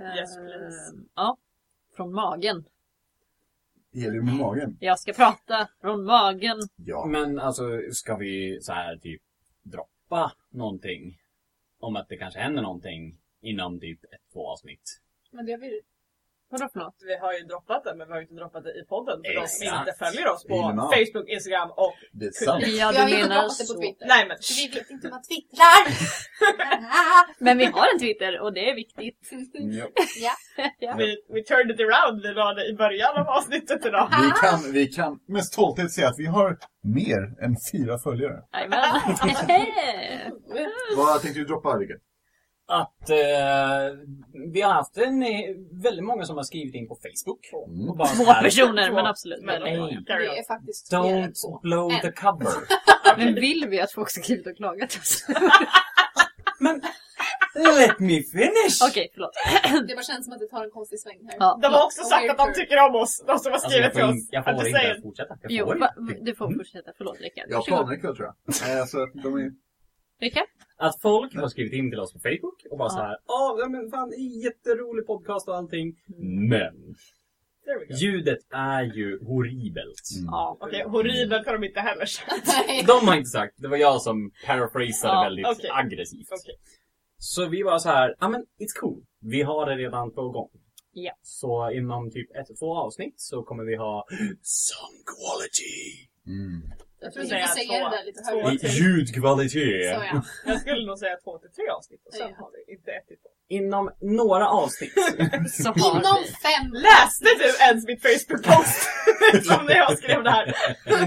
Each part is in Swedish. Yes, Eh, please. Ja, från magen. Det gäller ju Mm. med magen. Jag ska prata från magen. Ja. Men alltså, ska vi så här typ droppa någonting? Om att det kanske händer någonting inom typ ett, två avsnitt. Men det har vi, Vadå för något? vi har ju droppat det, men vi har ju inte droppat det i podden. För de som Exakt. inte följer oss på Innan. Facebook, Instagram och... Det är sant. Ja, vi har du inte menar droppat det på så. Twitter. Nej men... För vi vet inte hur man twittrar. Men vi har en Twitter och det är viktigt. Ja. We, we turned it around, vi la det i början av avsnittet idag. Vi kan, vi kan med stolthet säga att vi har mer än fyra följare. Jajamän. Vad tänkte du droppa, Rickard? Att eh, vi har haft en, eh, väldigt många som har skrivit in på Facebook. Mm. Och bara så Små här, personer, men absolut. Men, väldigt många. carry Det on. är faktiskt mer än så. Don't blow the cover. Men vill vi att folk ska skriva och klaga till oss? Let me finish! Okej, förlåt. Det bara känns som att det tar en konstig sväng här. Ja. De har också Och sagt weird att de curve. tycker om oss, de som har Alltså, skrivit jag får, till in- oss. jag I'm får just inte saying. ens fortsätta. Jag Jo, får va, inte. du får fortsätta. Förlåt Rickard. Jag har Varsågod. planer ikväll tror jag. Eh, Så att de är... Rickard? Att folk har skrivit in till oss på Facebook och bara Ja. så här, "Ah, "Ja, ja men fan, det är en jätterolig podcast och allting. Mm. Men There we go. ljudet är ju horribelt. Ja. Okej, horribelt har de inte heller sagt. Nej. De har inte sagt, det var jag som paraphrasade Ja, väldigt okej. aggressivt. Okej. Så vi var så här, ja men it's cool. Vi har det redan på gång. Ja. Så inom typ ett, två avsnitt så kommer vi ha some quality. Mm. Jag tror att du får Nej, säga två. det där lite Två. högre. Quality. Ljudkvalitet. typ? Så ja. Jag skulle nog säga två till tre avsnitt och sen Ja. har vi inte ett till två. Inom några avsnitt. Så har Inom vi. fem Läste du ens mitt Facebook-post? som när jag skrev det här.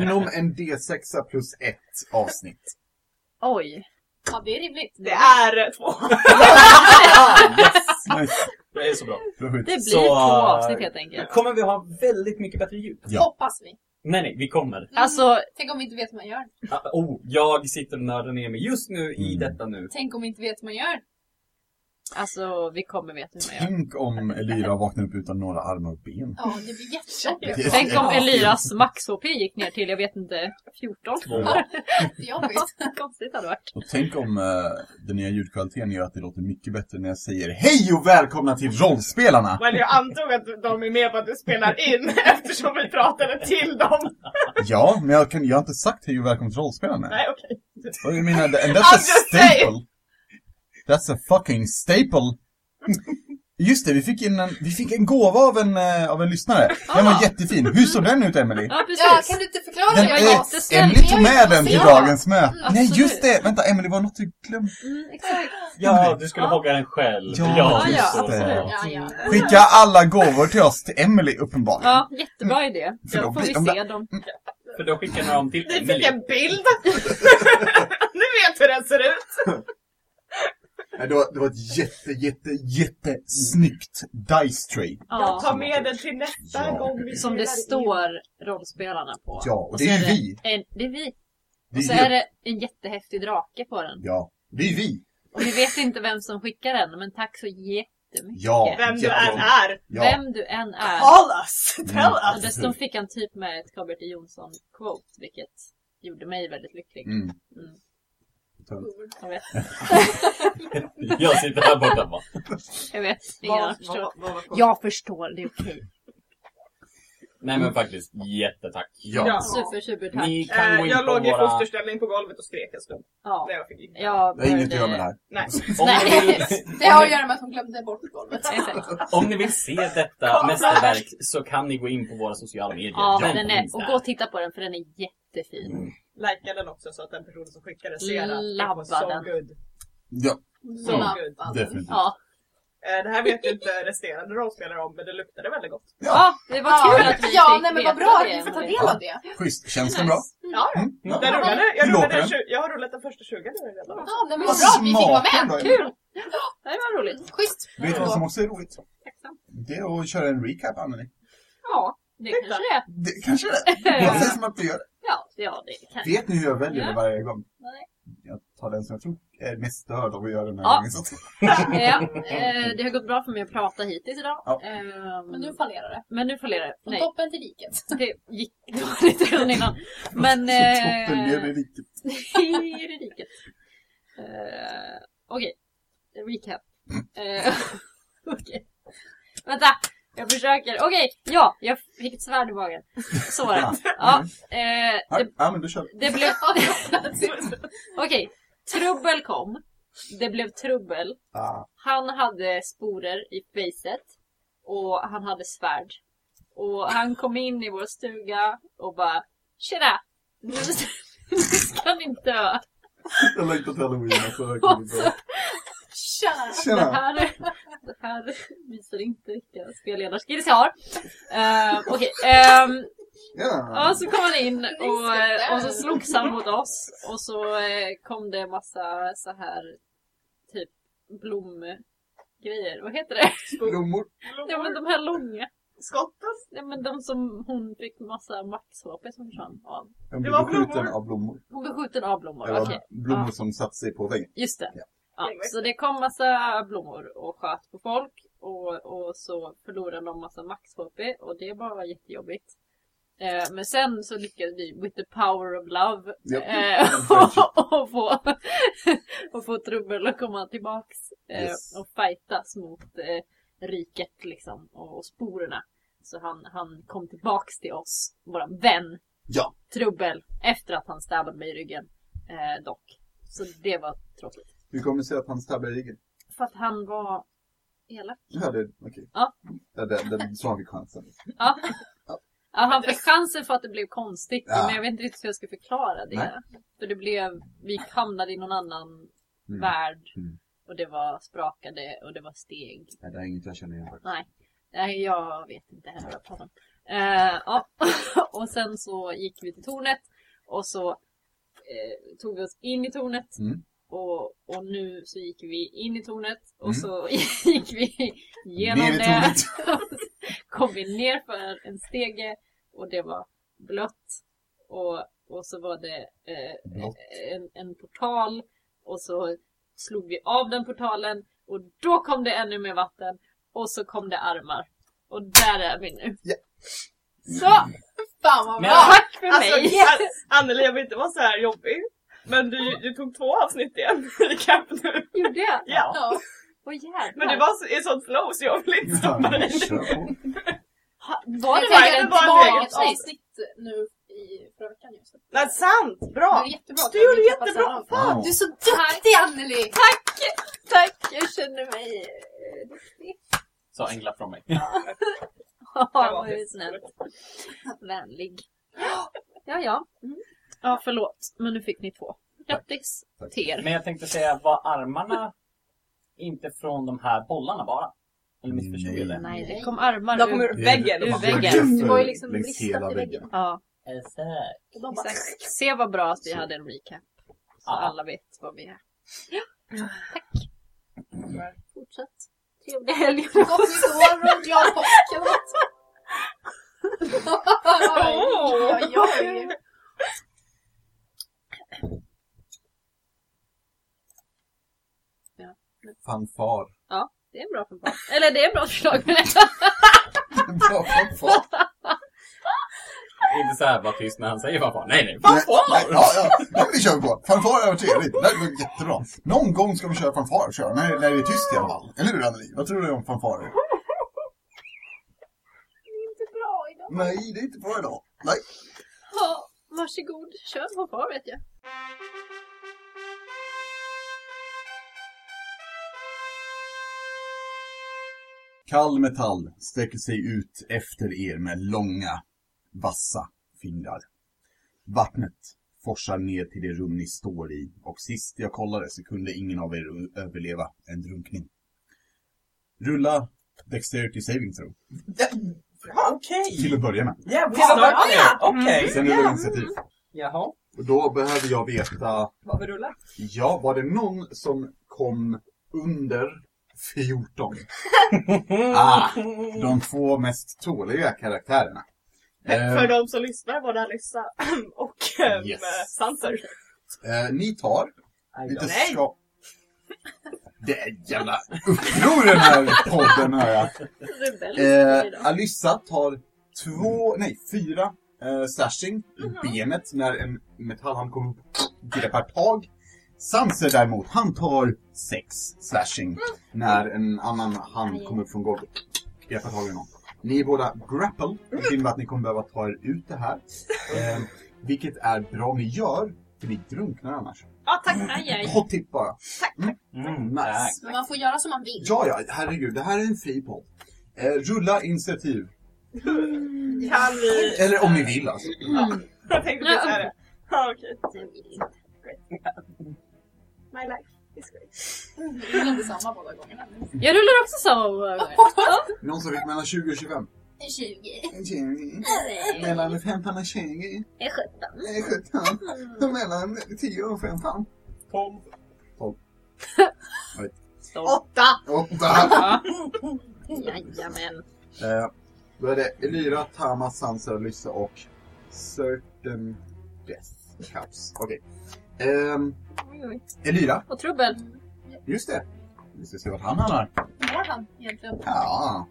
Inom en D6 plus ett avsnitt. Oj. Ja, det är rimligt. Det är två. det är så bra. Bra skit. Det blir Så- två avsnitt helt enkelt. Kommer vi ha väldigt mycket bättre ljud? Ja. Hoppas vi. Nej, nej, vi kommer. Mm. Alltså, Tänk om vi inte vet hur man gör. Ah, Oh, jag sitter och nördar ner mig just nu i Mm. detta nu. Tänk om vi inte vet hur man gör. alltså, vi kommer veta hur man gör. Tänk om Elira vaknar upp utan några armar och ben. Ja, det blir jättejobbigt. Tänk om Eliras max-HP gick ner till, jag vet inte, 14? Jättejobbigt. Konstigt hade det varit. Och tänk om eh, den nya ljudkvaliteten gör att det låter mycket bättre när jag säger Hej och välkomna till Rollspelarna! Men jag antog att de är med på att du spelar in eftersom vi pratade till dem. Ja, men jag, kan, jag har inte sagt hej och välkomna till Rollspelarna. Nej okej. Och jag menar, and that's I'm a Alltså, just staple. That's a fucking staple. Just det, vi fick in en, vi fick en gåva av en, eh, av en lyssnare. Den var Ah. jättefin. Hur såg den ut, Emily? Ja, Ja, precis. kan du inte förklara Den det? var är- jättesnäll. Emily tog Vi har ju med fått den till se. dagens möte. Mm, Nej, absolut. just det! Vänta, Emily, var det något du glömde? Mm, exakt. Ja, du skulle Ja. hogga den själv. Ja, just så, det. så. Ja. Ja, ja. Skicka alla gåvor till oss, till Emily uppenbarligen. Ja, jättebra idé. För Då då får blir Mm. vi de se dem. För då skickar ni dem till Ni Emily. fick en bild. Ni vet hur den ser ut. Nej, Det, var, det var ett jätte, jätte, jättesnyggt dice tray. Jag Ja, tar med den till nästa Ja. gång vi som det spelar in. står rollspelarna på. Ja, och så det är det vi. En, det är vi. Det Och så är är ju, det en jättehäftig drake på den. ja, det är vi. Och vi vet inte vem som skickar den, men tack så jättemycket. Ja, Vem du jättebra. än är. Ja. Vem du än är. Call us! Tell Mm. Och us! dessutom fick han typ med ett Robert E. Jonsson-quote, vilket gjorde mig väldigt lycklig. Mm. Mm. Jag Cool. vet, Jag sitter här borta bara. jag vet. Ingen annan Vad- förstår. vad- vad var kort? Jag förstår, det är okej. Nej men faktiskt, jättetack. Ja. Super, super tack. Ni kan Eh, gå in Jag på låg i våra... fosterställning på golvet och skrek en stund. Ja, När jag fick in. jag Det har inget att göra med det här. Nej. Om ni, vill, Det har att göra med att hon glömde bort golvet. eh, Exakt. om ni vill se detta mästerverk så kan ni gå in på våra sociala medier. Ja, men den finns är, och där. gå och titta på den för den är Mm. jättefin. Likea den också så att den personen som skickade ser att det Labba var so den. good. Ja, So Mm. good. definitivt. Ja, Eh, Det här vet ju inte resterande rollspelare om men det luktade väldigt gott. ja det var kul att vi fick Ja, nej men veta vad bra att det, vi får ta Emily. del av det. Schysst, känns den bra? Ja, ja. Mm. Den rullade, jag, rullade Hur låter den tju- jag har rullat den första 20 nu redan. Ja, nej men vad bra att vi fick vara med. Kul! Ja, Det var roligt. Schysst. Vet du vad som också är roligt? Tacksam. Det är att köra en recap, Anneli. Ja, det Titta. kanske det är. Det kanske det. Jag säger som att du gör det. Ja, ja det kan Vet ni hur jag väljer det varje gång? Nej. Jag tar den som jag tror är mest störd av att göra den här Ja. gången. Så. ja, eh, Det har gått bra för mig att prata hittills idag. Ja. Ehm, Men nu fallerar det. men nu fallerar det. Från Nej. toppen till diket. Det gick dåligt redan innan. Men... Så toppen ner i eh, riket. i riket. Eh, Okej. Recap. Eh, Okej. Vänta! Jag försöker. Okej, ja! Jag fick ett svärd i magen. Så var det. Ja, eh, Ja, det, ja, men du kör. det blev... Okej, trubbel kom. Det blev trubbel. Ah. Han hade sporer i facet och han hade svärd. Och han kom in i vår stuga och bara Tjena! Nu nu ska ni dö! Jag längtar till halloween alltså. det kommer Och bli så, bra. Tja! det, Tjena! här, det här visar inte vilka spelledarskills jag har. Eh, Okej, ehm, Tjena! ja, så kom han in och, eh, och så slogs han mot oss och så eh, kom det massa så här typ blomgrejer. Vad heter det? Blommor. Ja men de här långa. Skotten. Nej men de som hon fick massa max-HP som försvann av. Jag Det blev var beskjuten blommor. av blommor. Hon blev skjuten av blommor, Eller okej. blommor Ja. som satte sig på väggen. Just det. Ja. Ja. så det kom massa blommor och sköt på folk och, och så förlorade de massa max-HP och det bara var jättejobbigt. Eh, men sen så lyckades vi with the power of love Japp. eh, och, och få, och få trubbel att komma tillbaks eh, Yes. och fightas mot eh, riket liksom och, och sporerna. Så han, han kom tillbaks till oss, våran vän, Ja. trubbel efter att han stabbade mig i ryggen eh, dock. Så det var tråkigt. Hur kommer det sig att han stabbade i ryggen? För att han var elak. Ja, det, okej. Ja. Ja, det, det, så har vi chansen. Ja. Ja, han fick chansen för att det blev konstigt, Ja. men jag vet inte riktigt hur jag ska förklara det. Nej. För det blev, vi hamnade i någon annan Mm. värld Mm. och det var sprakade och det var steg. Ja, det är inget jag känner igen. faktiskt. Nej, jag vet inte heller vad jag pratar om. Eh, ja. och sen så gick vi till tornet och så eh, tog vi oss in i tornet. Mm. Och, och nu så gick vi in i tornet och Mm. så gick vi genom Ner i det. tornet. kom vi ner för en stege och det var blött. Och, och så var det eh, Blått. en, en portal och så slog vi av den portalen och då kom det ännu mer vatten och så kom det armar. Och där är vi nu. Ja. Så! Fan vad Men- bra! Tack för Alltså, mig! An- Anneli jag vill inte vara så här jobbig. Men du, du tog två avsnitt igen i kapp nu. Gjorde jag? Ja. Ja. Åh jävlar! Men det var så, i sånt flow så jag vill inte stoppa Ja, dig. kör på. Ha, var det Jag det tänker verkligen att ett var ett eget det var ett barnavsnitt? avsnitt nu i förra veckan just. Nej sant! Det är Bra! jättebra. Du gjorde Vi tappar jättebra. samman. Wow. Du är så duktig Anneli! Tack! Jag känner mig... eh, duktig. Sa en glapp från mig. Ja, var vad det. snällt. Vänlig. Ja, ja. Mm. Ja, förlåt. Men nu fick ni två. Grattis Tack. till er. Men jag tänkte säga, var armarna inte från de här bollarna bara? Eller missförstod jag det? Nej, det kom armar De kom ur. ur väggen. Ur och väggen. Det var ju liksom Längs ristat i hela väggen. Ja, Exakt. Och de bara, exakt. Se vad bra att vi Så. hade en recap. Så Ja. alla vet vad vi är. Ja. Tack. Fortsätt. Trevlig helg. gott nytt år och glad påsk eller något. Oj, oj, oj. Fanfar. Det är en bra förslag. Eller det är en bra förslag. men- Bra fanfar. Inte såhär bara tyst när han säger vad fan. Nej, nej. Nej, nej, ja, ja. Nej, men det kör vi på. Fanfar är trevligt. Det här var jättebra. Någon gång ska de köra fanfar, kör. När, när det är tyst i alla fall. Eller hur, Anneli? Vad tror du om fanfarer? Inte bra idag. Nej, det är inte bra idag. Nej. Ja, Varsågod, kör på far vet jag. Kall metall sträcker sig ut efter er med långa, vassa fingrar. Vattnet forsar ner till det rum ni står i och sist jag kollade så kunde ingen av er överleva en drunkning. Rulla Dexterity Saving Throw, Ja, Okej! till att börja med. Jävlar vad bra! Okej! Sen rullar vi initiativ. Jaha. Och då behöver jag veta, Vad vill rulla? ja, var det någon som kom under 14? Ah, de två mest tåliga karaktärerna. Eh, För de som lyssnar, både Alissa och eh, Yes. Sanser. Eh, ni tar lite Aj, Nej. skap. Det är ett jävla uppror i den här podden hör jag. Eh, Rebellisk Alyssa tar två, nej fyra eh, slashing i benet när en metallhand kommer upp och greppar tag. Samser däremot, han tar sex slashing när en annan hand kommer upp från golvet. Greppa tag i någon. Ni är båda grapple, vilket innebär att ni kommer behöva ta er ut det här. Eh, vilket är bra om ni gör, för ni drunknar annars. Ja tack, aj, aj. Hot tip bara. Mm, Nice. Men man får göra som man vill. Ja, ja, herregud, det här är en fri podd. Eh, rulla initiativ. Kan vi... Eller om ni vill alltså. Jag tänkte precis säga det. Ja okej. typ. My life is great. Det är inte samma båda gångerna. Jag rullar också så. eh, Någon som fick mellan 20 och 25? 20. 20. Mellan 15 och 20. Jag är 17. 17. Mellan 10 och 15. Tom. 8! 8. Ja. Jajamän. Eh, då är det Elyra, Tama, Sansa, Lyssa och Certain Death Cups. Okej. Ehm, Oj, oj. Elyra, Och trubbel. just det. Vi ska se vart han hamnar. Mår han egentligen? Ja.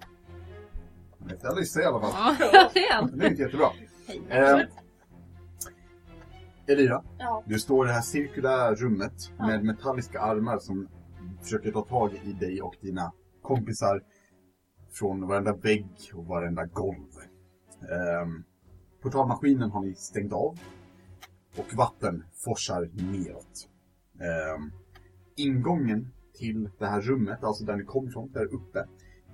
Han heter Lyssa i alla fall. Ja, det är han. Det är inte jättebra. Hej. Ehm, Elira, Ja. du står i det här cirkulära rummet Ja. med metalliska armar som försöker ta tag i dig och dina kompisar från varenda vägg och varenda golv. Ehm, portalmaskinen har ni stängt av och vatten forsar neråt. Ehm, ingången till det här rummet, alltså där ni kom ifrån, där uppe,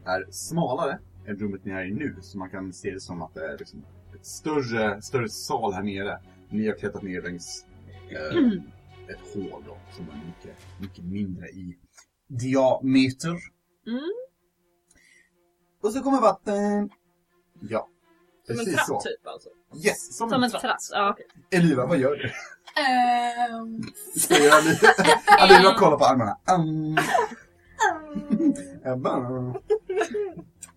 är smalare än rummet ni är i nu. Så man kan se det som att det är liksom ett större, större sal här nere. Ni har klättrat ner längs eh, ett hål då, som är mycket, mycket mindre i diameter. Mm. Och så kommer vatten. Ja, Som en precis trapp så. typ alltså. Yes, som, Som en en trapp. tratt. Ja. Elira, vad gör du? Ehm, Säger jag lite. Elira kollar på armarna. Um, jag bara-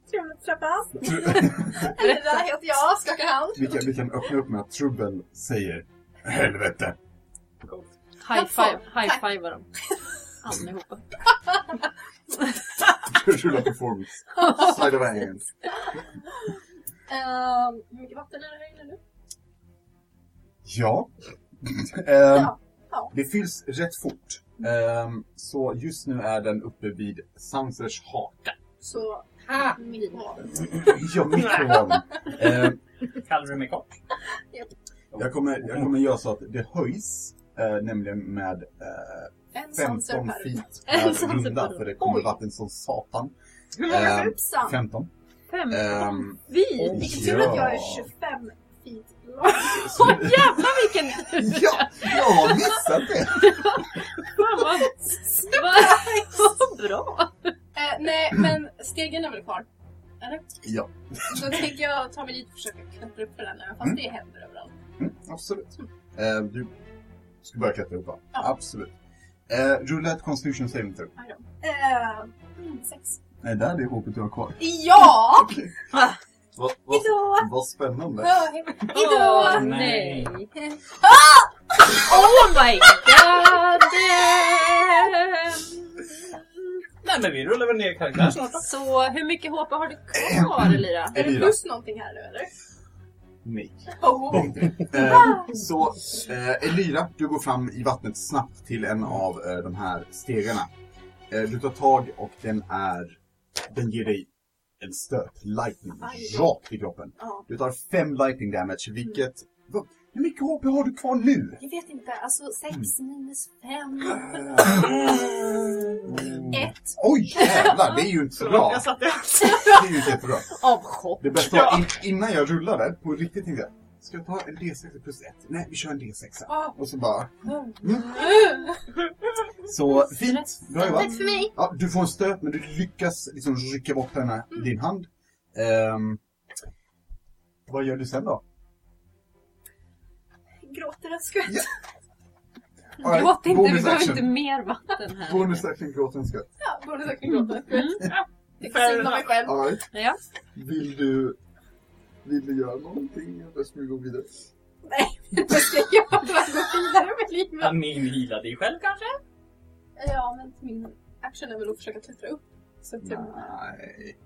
Trevligt att träffas. Elvira heter jag, skakar hand. vi, kan, vi kan öppna upp med att Trubbel säger Helvete! High five. High five var de. Allihopa. Rulla performance. Slide of hand. Ehm, hur mycket vatten är det här inne nu? Ja. Ehm, ja. Det fylls rätt fort. Ehm, så just nu är den uppe vid Sansers haka. Så mycket vatten. Ja, mikron. Ehm, Kallar du mig kort? jag, kommer, jag kommer göra så att det höjs, eh, nämligen med eh, En 15 sanser per feet En per sanser runda, per- för det kommer Oj. vatten som satan. Hur många Ehm, um, Hoppsan. 15. Fem. Ehm, Vi. oj, Vilken tur att jag ja. är 25 feet lång. Åh jävlar vilken tur! Ja, jag har missat det! Fan vad, vad, vad bra! Eh, nej, men stegen är väl kvar? Eller? Ja. Då tänker jag ta mig dit och försöka klättra upp för den, även fast Mm. det händer överallt. Mm, absolut. Eh, du ska börja klättra upp va? Ja. Absolut. Eh, rulla ett Constitution saving throw. Eh, mm, sex. Nej, där är det hoppet du har kvar. Ja! Okej. Ah. Vad, vad, Hejdå! vad spännande. Hej- Hejdå! Ah, Åh, nej! Eh, Oh my god! damn. Nej men vi rullar väl ner karaktär Mm. snart då. Så hur mycket HP har du kvar Elira? Är det Elira. plus någonting här nu eller? Nej. Oh. Eh, så eh, Elira, du går fram i vattnet snabbt till en av eh, de här stegarna. Eh, du tar tag och den är... Den ger dig en stöt, lightning, Aj. rakt i kroppen. Ja. Du tar fem lightning damage, vilket... Va? Hur mycket HP har du kvar nu? Jag vet inte, alltså sex Mm. minus fem. Ett. Mm. Oj jävlar, det är ju inte så bra. Jag satt i Det är ju inte jättebra. Avchopp. Det bästa var in, innan jag rullade, på riktigt tänkte jag, ska jag ta en D6 plus 1? Nej, vi kör en D6. Ah. Och så bara, Mm. så fint, bra jobbat. Ett för mig. Ja, du får en stöt men du lyckas liksom rycka bort den här Mm. i din hand. Ehm, vad gör du sen då? Gråter en skvätt. Ja. Alright, Gråt inte, vi bonus behöver action. inte mer vatten här. Bonus action, gråt en skvätt. Ja, borde säkert Mm. gråta. Jag Fair kan syna mig själv. All right. Ja. Vill du, vill du göra någonting eller ska vi gå vidare? Vad ska jag göra? Gå vidare med livet. Amin heala dig själv kanske? Ja, men min action är väl att försöka klättra upp. Så att jag... Nej.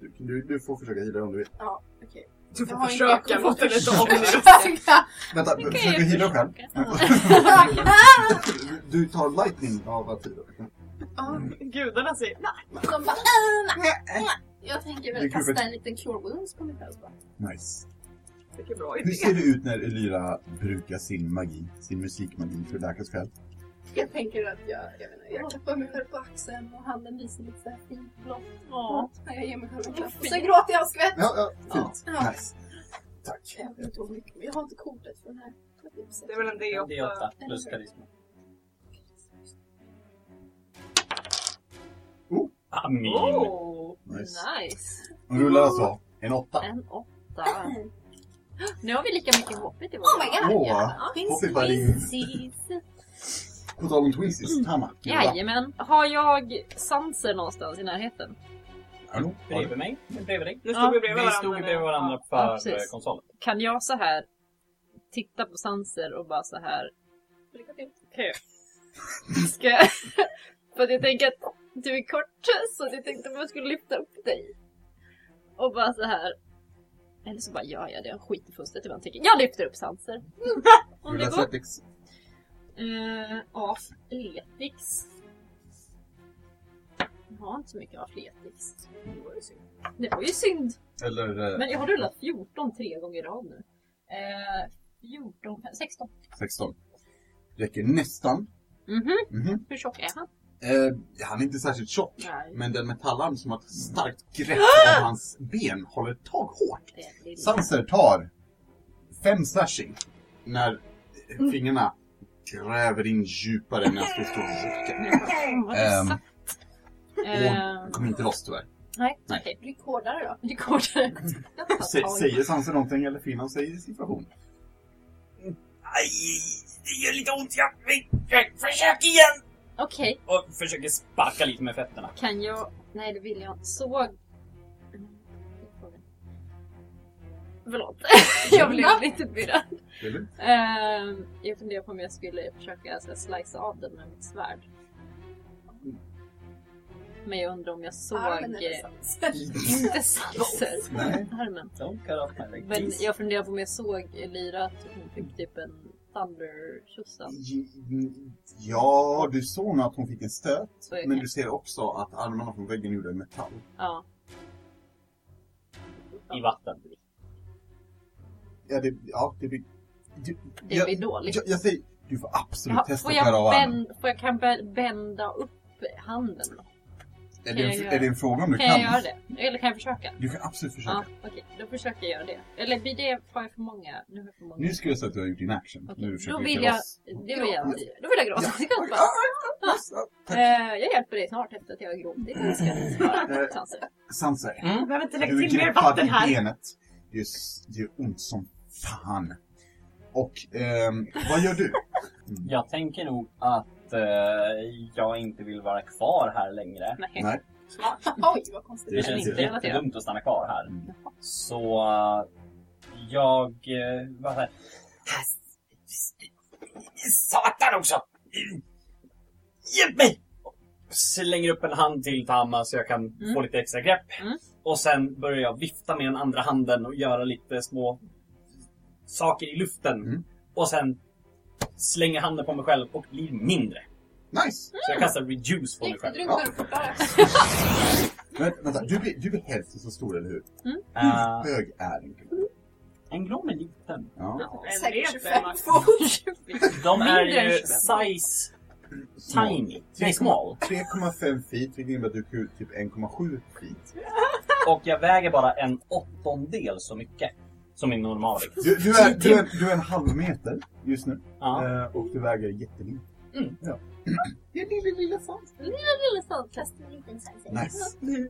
Du, du, du får försöka heala om du vill. Ja, okej. Du får Jag har försöka inte- låter lite omnibus. Försöka. Vänta, Det kan försöker jag hila själv? Du tar lightning av liksom. att hila. Gudarna säger nej. De bara, "Äh, nej, nej." Jag tänker Det är väl kul för- kasta en liten cure wounds på mig själv bara. Nice. Vilken bra Hur idé. ser det ut när Elira brukar sin magi, sin musikmagi för att läka sig själv? Jag tänker att jag, jag menar, jag klappar mig själv på axeln och handen visar lite såhär fint blått. Ja. När jag ger mig själv en klapp. Fint. Och sen gråter jag och skvätt. Ja, ja, fint. Ja. Nice. Tack. Jag vet inte hur mycket, men jag har inte kortet för den här. Det är väl en D8. Det är åtta plus karisma. Oh. Ah, min. Oh, Nice. nice. Hon rullar alltså en åtta. En åtta. Nu har vi lika mycket HP till Oh my god! Åh, ja. hoppar bara in. På tal om twinsies, Tama. Jajamän. Har jag sanser någonstans i närheten? Hallå? Har du- Bredvid mig. Bredvid dig. Nu Ja, stod vi bredvid Vi varandra. stod ju nu. bredvid varandra för Ja, precis. eh, konsolen. Kan jag så här titta på sanser och bara så här Lycka till. Okej. Ska jag... För att jag tänker att du är kort, så jag tänkte att man skulle lyfta upp dig. Och bara så här. Eller så bara gör jag det, jag skiter fullständigt i vad han tycker. Typ, Jag lyfter upp Sanser! Om Rulla det går. athletics. Eh, Afletics. Jag har inte så mycket Afletics. Det var ju synd. Eller eh, Men jag har rullat 14 tre gånger i rad nu. Eh, 14, 16. 16. Räcker nästan. Mhm, Mhm. hur tjock är han? Eh, han är inte särskilt tjock. Nej. Men den metallarm som har ett starkt grepp Ah! om hans ben håller ett tag hårt. Det är lite- Sanser tar fem slashing när eh, Mm. fingrarna gräver in djupare än hans fosterryggen. Fan, vad Ehm. exakt. Ehm, Kommer inte loss tyvärr. Nej, Nej. okej. Ryck hårdare då. Det går Jag tar Sä- tag. Säger Sanser någonting eller finner han sig i situation? Aj! Det gör lite ont. Jag, jag, försök igen! Okej, Och försöker sparka lite med fötterna. kan jag... Nej, det vill jag inte. Såg... Förlåt. jag blev lite förvirrad. Det är lugnt. Ehm, jag funderar på om jag skulle försöka så här, slicea av den med mitt svärd. Men jag undrar om jag såg... Armen liksom- eh, eller sånt. Inte sanser. Nej. Armen. Don't cut off my leg, Men please. jag funderar på om jag såg Elira att hon fick typ en thunder-tjosa. Ja, du såg nog att hon fick en stöt. Så jag Men kan- du ser också att armarna från väggen gjorde metall. Ja. I vatten. Ja, det, ja, det blir... Du, Det jag, blir dåligt. jag, jag säger, du får absolut Ja, testa får, att skära av jag armen. bänd, får jag kan bä- bända upp handen? då? Är det, kan jag en, göra? är det en fråga om du Kan kan? jag göra det? Eller kan jag försöka? Du kan absolut försöka. Ja, okej. Då försöker jag göra det. Eller blir det, har jag för många? Nu har jag för många. Nu ska jag säga att du har gjort din action. Okej, Nu Då försöker vill du jag, oss. det vill jag, då vill jag gråta. Det kan jag inte Ja, bara- ja, ja, tack. Mm. Eh, jag hjälper dig snart efter att jag har gråtit. Det ska jag Eh. svara. Sanser. Sanser, Jag behöver inte lägga du är till mer greppad vatten i här. benet. Det är, s- det är ont som fan. Och ehm, vad gör du? Jag tänker nog att eh, jag inte vill vara kvar här längre. Nej. Nej. Oj, vad konstigt. Det känns inte jättedumt att stanna kvar här. Mm. Så eh, jag... eh, Vad här? Satan också! Hjälp mig! Slänger upp en hand till Tama så jag kan Mm. få lite extra grepp. Mm. Och sen börjar jag vifta med den andra handen och göra lite små saker i luften. Mm. Och sen slänger handen på mig själv och blir mindre. Nice! Så jag kastar reduce på mig Riktigt själv. drunknar du fortare. Men, vänta, du blir, du blir hälften så stor, eller hur? Eh, Hög är en kille. en gnom är liten. Ja. En Säkert rep 25 max. De är Mindre än ju 25. size Small. tiny. Nej, small. 3,5 feet, vilket innebär att du är typ 1,7 feet. Och jag väger bara en åttondel så mycket. Som min normala vikt. Du, du, är, du, är, du är en halv meter just nu. Ja. Eh, och du väger jättelite. Mm. Ja. Det är lilla, lilla sånt. Lilla sånt. Kastar en liten sanser. Nice.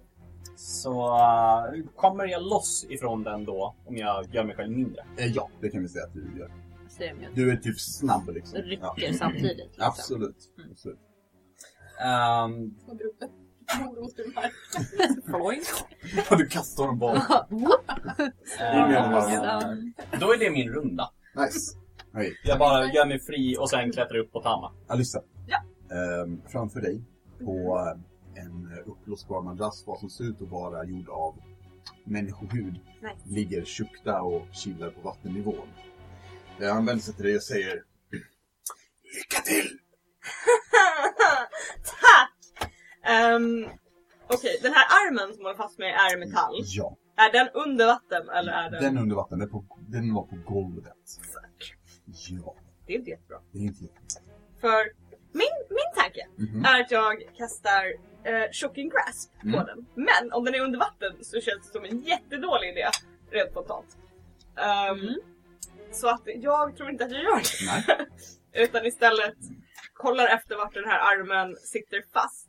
Så eh, kommer jag loss ifrån den då om jag gör mig själv mindre? Eh, ja, det kan vi säga att du gör. Ser om jag Du är typ snabb liksom. Ja. rycker samtidigt. liksom. Absolut. Mm. Absolut. Ehm, Små droppar. Moroter här. Ja, du kastar honom bak. eh, då är det min runda. Nice. Hej, Jag bara gör mig fri och sen klättrar upp på Tama. Alyssa. Ja. Ehm, framför dig på eh, en eh, uppblåsbar madrass, vad som ser ut att vara gjord av människohud Nej. ligger tjukta och kilar på vattennivån. Eh, Han vänder sig till dig och säger Lycka till! Tack! Ehm, Okej, den här armen som håller fast mig är metall. Ja, Är den under vatten eller är den... den är under vatten. Den, är på, den var på golvet. Ja, Det är inte jättebra. det är inte jättebra. För min, min tanke Mhm. är att jag kastar eh, shocking grasp på Mm. den. Men om den är under vatten så känns det som en jättedålig idé rent spontant. Ehm, Mm. Så att jag tror inte att jag gör det. Nej. Utan istället kollar efter vart den här armen sitter fast.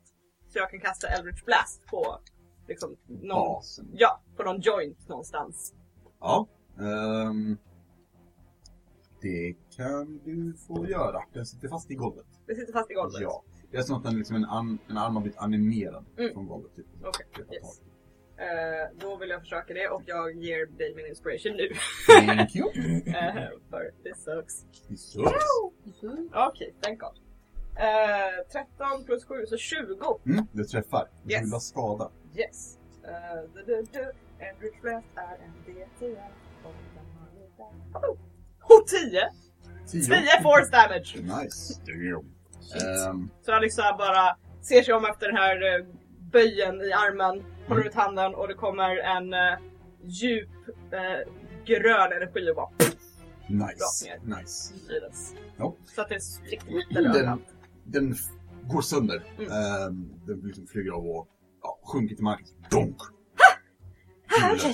Så jag kan kasta Eldritch Blast på liksom någon, Basen. ja, på någon joint någonstans. Ja. ehm, det kan du få göra. Den sitter fast i golvet. Det sitter fast i golvet. Ja. Det är som att den liksom en, an, en arm har blivit animerad Mm. från golvet. Typ. Okej, Greppa tag. yes. Eh, då vill jag försöka det och jag ger dig min inspiration nu. Thank you! Eh, för det sucks. It sucks. Mhm. Okej, thank god. Eh, 13 plus 7 så 20. Mm, det träffar. Du Yes. rullar skada. Yes. Eh, du, du, du. En ruthless är en D10. Och den har lite- Oh! Och 10! 10. 10 force damage! Nice. Eh, Ehm, Så han liksom bara ser sig om efter den här eh, böjen i armen, Mm. håller ut handen och det kommer en eh, djup eh, grön energi och bara nice. Nice. i den. Ja. Så att det är spricker lite Den, överallt. den f- går sönder. Mm. Ehm, den liksom flyger av och ja, sjunker till marken. Donk! Ah, okej.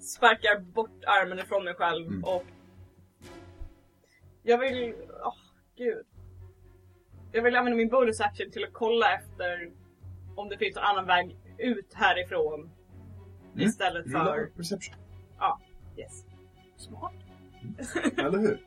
Sparkar bort armen ifrån mig själv Mm. och jag vill, åh gud. Jag vill använda min bonus action till att kolla efter om det finns någon annan väg ut härifrån. Mm. Istället Rulla för, perception. yes. Smart. Eller hur?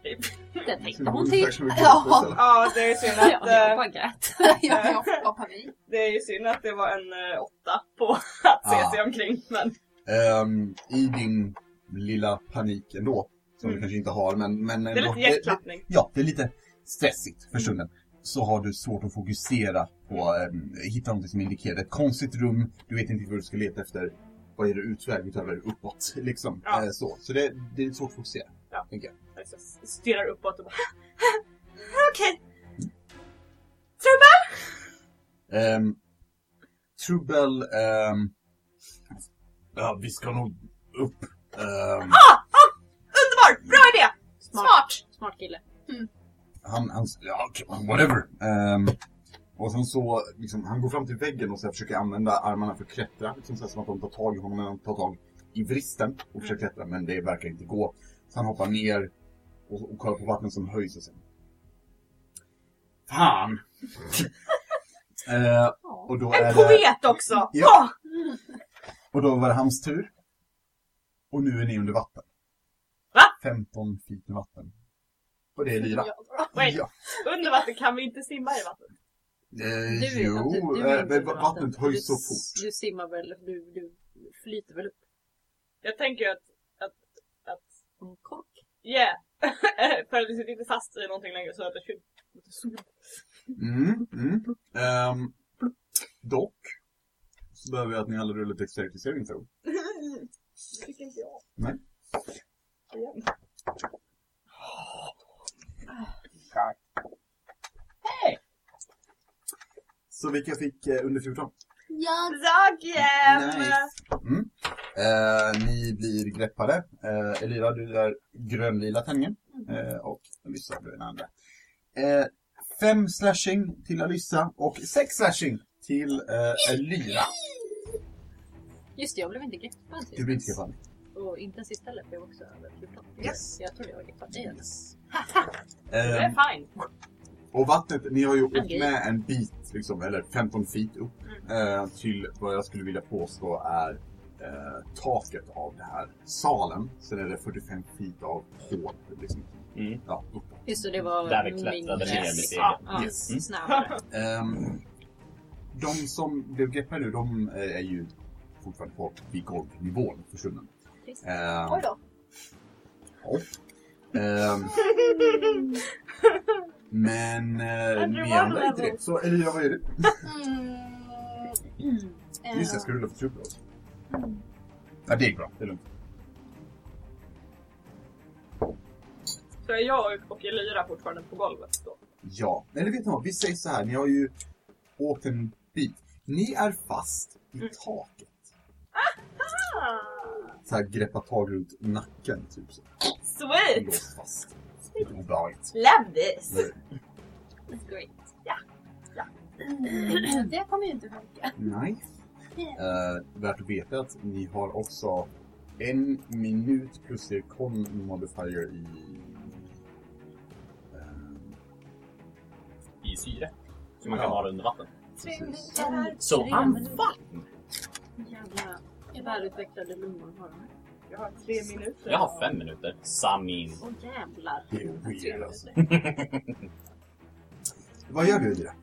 Det tänkte hon till. Ja. Ja, det är synd Ja, att eh, jag bara grät. jag, jag får bara panik. Det är ju synd att det var en eh, åtta på att se Ah. sig omkring. Men Ehm, I din lilla panik ändå, som du Mm. kanske inte har, men... men det är lite Mm. hjärtklappning. Ja, det är lite stressigt för stunden. Så har du svårt att fokusera på, ehm, hitta något som indikerar. Ett konstigt rum, du vet inte vad du ska leta efter. Vad är det utväg utöver uppåt, liksom. Ja. Eh, så så det, det är svårt att fokusera. Jag liksom stirrar uppåt och bara Okej, Um, Trubbel... ehm, ja, vi ska nog upp. Ehm, underbar! Bra idé! Smart, Smart! smart kille. Han, han, ja, okej, whatever. Ehm, och sen så, liksom, han går fram till väggen och så här försöker använda armarna för att klättra. Liksom så här, som att de tar tag i honom, men de tar tag i vristen och försöker klättra, men det verkar inte gå. Så han hoppar ner och, och kollar på vattnet som höjs och sen. Fan! Eh, Ja. och då är En det, poet också! Ja. Ja! Och då var det hans tur. Och nu är ni under vatten. Va? 15 feet under vatten. Och det är Lyra. Wait, Ja. under vatten kan vi inte simma i vatten? Eh, Du vet att jo, du, du är eh, inte men under vattnet vatten. höjs så Du- fort. Du simmar väl, du, du flyter väl upp Jag tänker att, på en kork? yeah! För att vi sitter inte fast i någonting längre så att det kyl- Mm, mm. Ehm, dock så behöver jag att ni alla rullar dexterity saving throw. Det tycker inte jag. Nej. Igen. Så vilka fick eh, under 14? Jag Dagen! Mm. Eh, ni blir greppade. Eh, Elira, du är grönlila tändningen. Eh, och Alyssa, du är den andra. Eh, fem slashing till Alyssa och sex slashing till eh, Elira. Just det, jag blev inte greppad sist. Du blir inte greppad. Och inte ens sist heller, för jag var också över 14. Yes. Jag trodde jag var greppad dig. Yes. Det Ehm, är fine. Och vattnet, ni har ju åkt Okej. med en bit, liksom, eller 15 feet upp eh, till vad jag skulle vilja påstå är eh, taket av den här salen. Sen är det 45 feet av hål. Liksom, Mm. ja, uppåt. Just det, det var Där vi klättrade min- ner med Ja. stegen. Ja, Yes. yes. snabbare. Ehm, de som blev greppade nu, de eh, är ju fortfarande kvar vid golvnivån försvunnen. Trist. Ehm, Oj då. ehm, men eh, Everyone ni andra är inte det. levels. Så Elira, vad gör du? Mm. Eh, Just det, jag ska rulla för trubbel också. Ja, det gick bra. Det är lugnt. Så är jag och Elira fortfarande på golvet då. Ja. Eller vet ni vad? Vi säger så här. Ni har ju åkt en bit. Ni är fast i Mm. taket. Ah, Så här greppa tag runt nacken, typ så. sweet! Låst fast. Det är Obehagligt. Love this! That's great. Ja. Ja. eh, Det kommer ju inte funka. Nej. Eh, värt att veta att ni har också en minut plus er con modifier i... eh, I syre. Så man kan Ja. ha det under vatten. Tre Precis. minuter. Så Tre han minuter. Jävla välutvecklade lungor har de. Jag har tre minuter. Jag har fem minuter. Samin. Åh jävlar. Det är weird, alltså. Tre minuter. Vad gör du i det?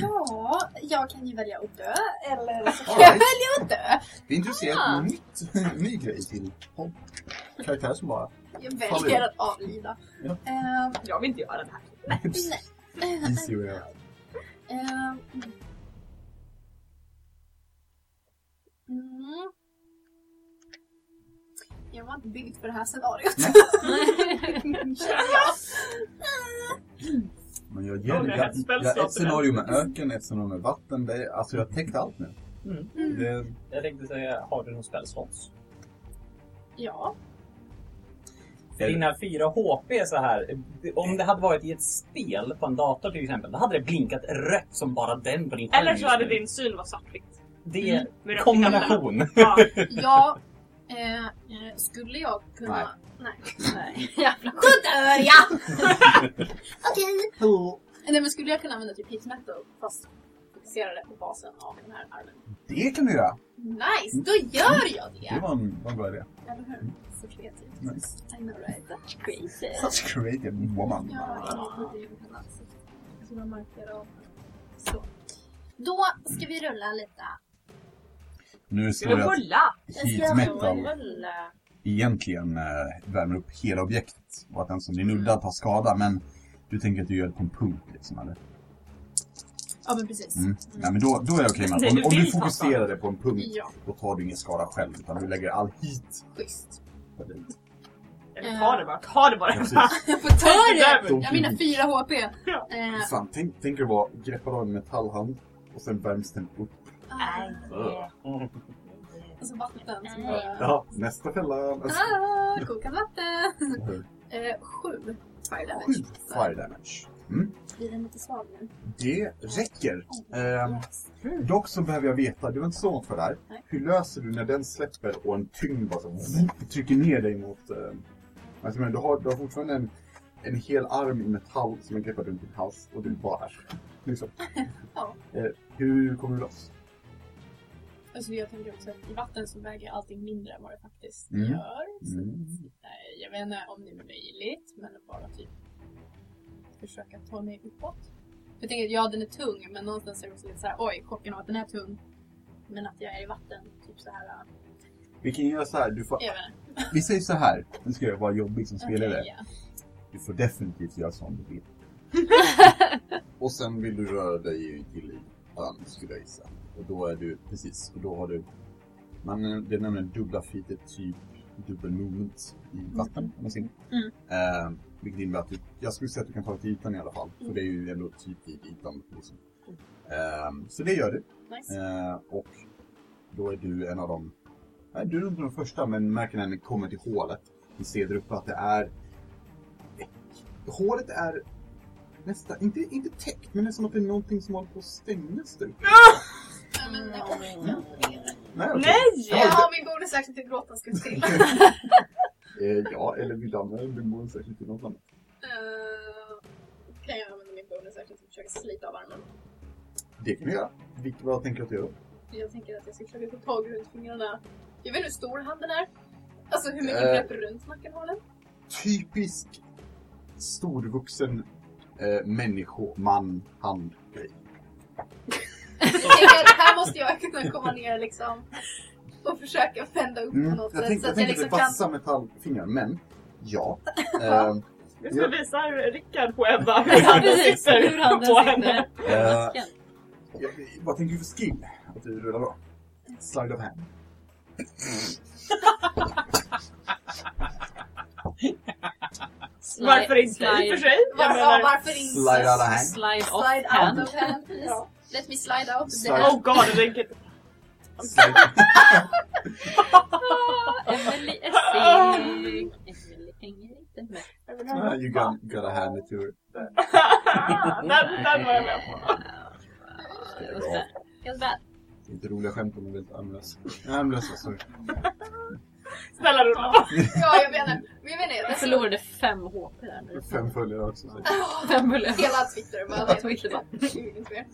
Ja, jag kan ju välja att dö eller så kan All jag right. välja att dö. Vi är intresserade av Ah. en nytt, ny grej till podd. Karaktär som bara... Jag Faller. väljer att avlida. Ja. Ehm, Jag vill inte göra det här. Easy way out. ehm. Mm. Jag var inte byggd för det här scenariot. Mm. Men jag Ja, ger det är jag, ett jag, spel ett scenario med öken, ett scenario med vatten. Det, är- alltså jag har täckt allt nu. Mm. Mm. Det, Jag tänkte säga, har du någon spelslott? Ja. Dina 4 HP så här. Om det hade varit i ett spel på en dator till exempel. Då hade det blinkat rött som bara den på din skärm Eller så just hade nu. din syn varit svartvitt. Det är Med rött i händerna. kombination. Ja, Ja. Eh, eh, skulle jag kunna... Nej. Nej, jävla skit. Då dör jag! Okej. Nej men skulle jag kunna använda typ hit metal fast fokuserade på basen av den här armen? det kan du göra! Nice! Då gör jag Det det! var en, var en bra idé. Eller hur? Så kreativt. Nice. I know right? That's crazy. Such creative woman. Ja, det är ju en alltså. Så man markerar av. Så. Då ska vi rulla lite. Nu ska vi står det att rulla? heat metal Rulla. egentligen eh, värmer upp hela objektet och att den som blir nuddad tar skada men du tänker att du gör det på en punkt liksom eller? Ja men precis. Mm. Ja men då, då är det okej Nej, okay, om, du om du vill ta fokuserar det på en punkt Ja, då tar du ingen skada själv utan du lägger all heat schysst. på dig. Eller ta det bara. Ta det bara. Ja, precis. Jag får ta det! Därmed. Jag Mm. menar 4 HP. Ja. Eh, Fan, tänk, tänk dig vara greppad av en metallhand och sen värms den upp. ah, Mm. alltså vatten som Ja. bara... Ja, nästa fälla. Nästa. Ah, kokat vatten! Sju Eh, sju fire damage. fire damage. Mm. Blir den lite svag nu? Det räcker. Ehm, Yes. dock så behöver jag veta, du var inte så långt för det här. Nej. Hur löser du när den släpper och en tyngd bara så vroom, trycker ner dig mot... Eh, alltså, men du, har, du har fortfarande en, en hel arm i metall som är greppad runt din hals och du bara här. Liksom. Ja. Eh, hur kommer du loss? Alltså jag tänker också att i vatten så väger allting mindre än vad det faktiskt Mm. gör. Så Mm. eh, jag vet inte om det är möjligt, men att bara typ försöka ta mig uppåt. Jag tänker att ja, den är tung, men någonstans är det också lite såhär, oj, chocken av att den är tung. Men att jag är i vatten, typ så här. eh, Vi kan göra så här, du får, Jag vet inte. vi säger så här. Nu ska jag vara jobbig som spelare. Okej, ja. Du får definitivt göra som du vill. och sen vill du röra dig till ytan, skulle jag gissa. Och då är du, precis, och då har du... Man, det är nämligen dubbla feet, ett typ dubbel movement i vatten, om man säger. Mm. Eh, vilket innebär att du, jag skulle säga att du kan ta dig till ytan i alla fall. För det är ju ändå typ vid ytan. Liksom. Eh, så det gör du. Nice. Eh, och då är du en av de... Nej, du är nog inte den första, men märker när ni kommer till hålet. Ni ser där uppe att det är... Hålet är nästan, inte, inte täckt, men det är som att det är någonting som håller på att stängas där uppe. Ja, men jag orkar inte mer. Nej! okej. Nej! Jag har min bonusaction till gråtan ska till. Eh, ja, eller vill du använda din bonus särskilt till något annat? Eh, kan jag använda min bonusaction till att försöka slita av armen? Det kan du göra. Vilket, vad tänker du att du gör? Jag tänker att jag ska försöka få tag runt fingrarna. Jag vet inte hur stor handen är. Alltså hur mycket Eh. grepp runt nacken har den? Typisk storvuxen eh, människoman hand grej. Jag tänker att här måste jag kunna komma ner liksom. Och försöka vända upp på Mm. något Jag sätt. Så tänkte att jag jag tänkte liksom att det är kan... vassa metallfingrar, men ja. Ehm, Just nu visar Rickard på Ebba hur Ja, handen precis. sitter Hur handen på sitter. henne. Eh, Nacken. Jag, vad tänker du för skill att du rullar då? Slide of hand. Slide- Varför inte i Slide, och för sig? Jag Varför, ja, menar, varför inte? Slide out of hand. slide off Slide hand. out of hand, please. Ja. Let me slide out. of the Slide- hand. oh god, det är Ah, Emily är seg. Emily hänger inte med. Ah, you got, gotta hand it to her. Ah, den, den var jag med på. Just bad. Inte roliga skämt om du vill amlösa. Amlösa, sorry. Snälla rulla. Ja, jag menar. Men jag menar, jag Jag förlorade fem HP där nu. Fem följare också. Så. Fem bullar. Hela Twitter bara, nej, Twitter bara. jag vill inte mer.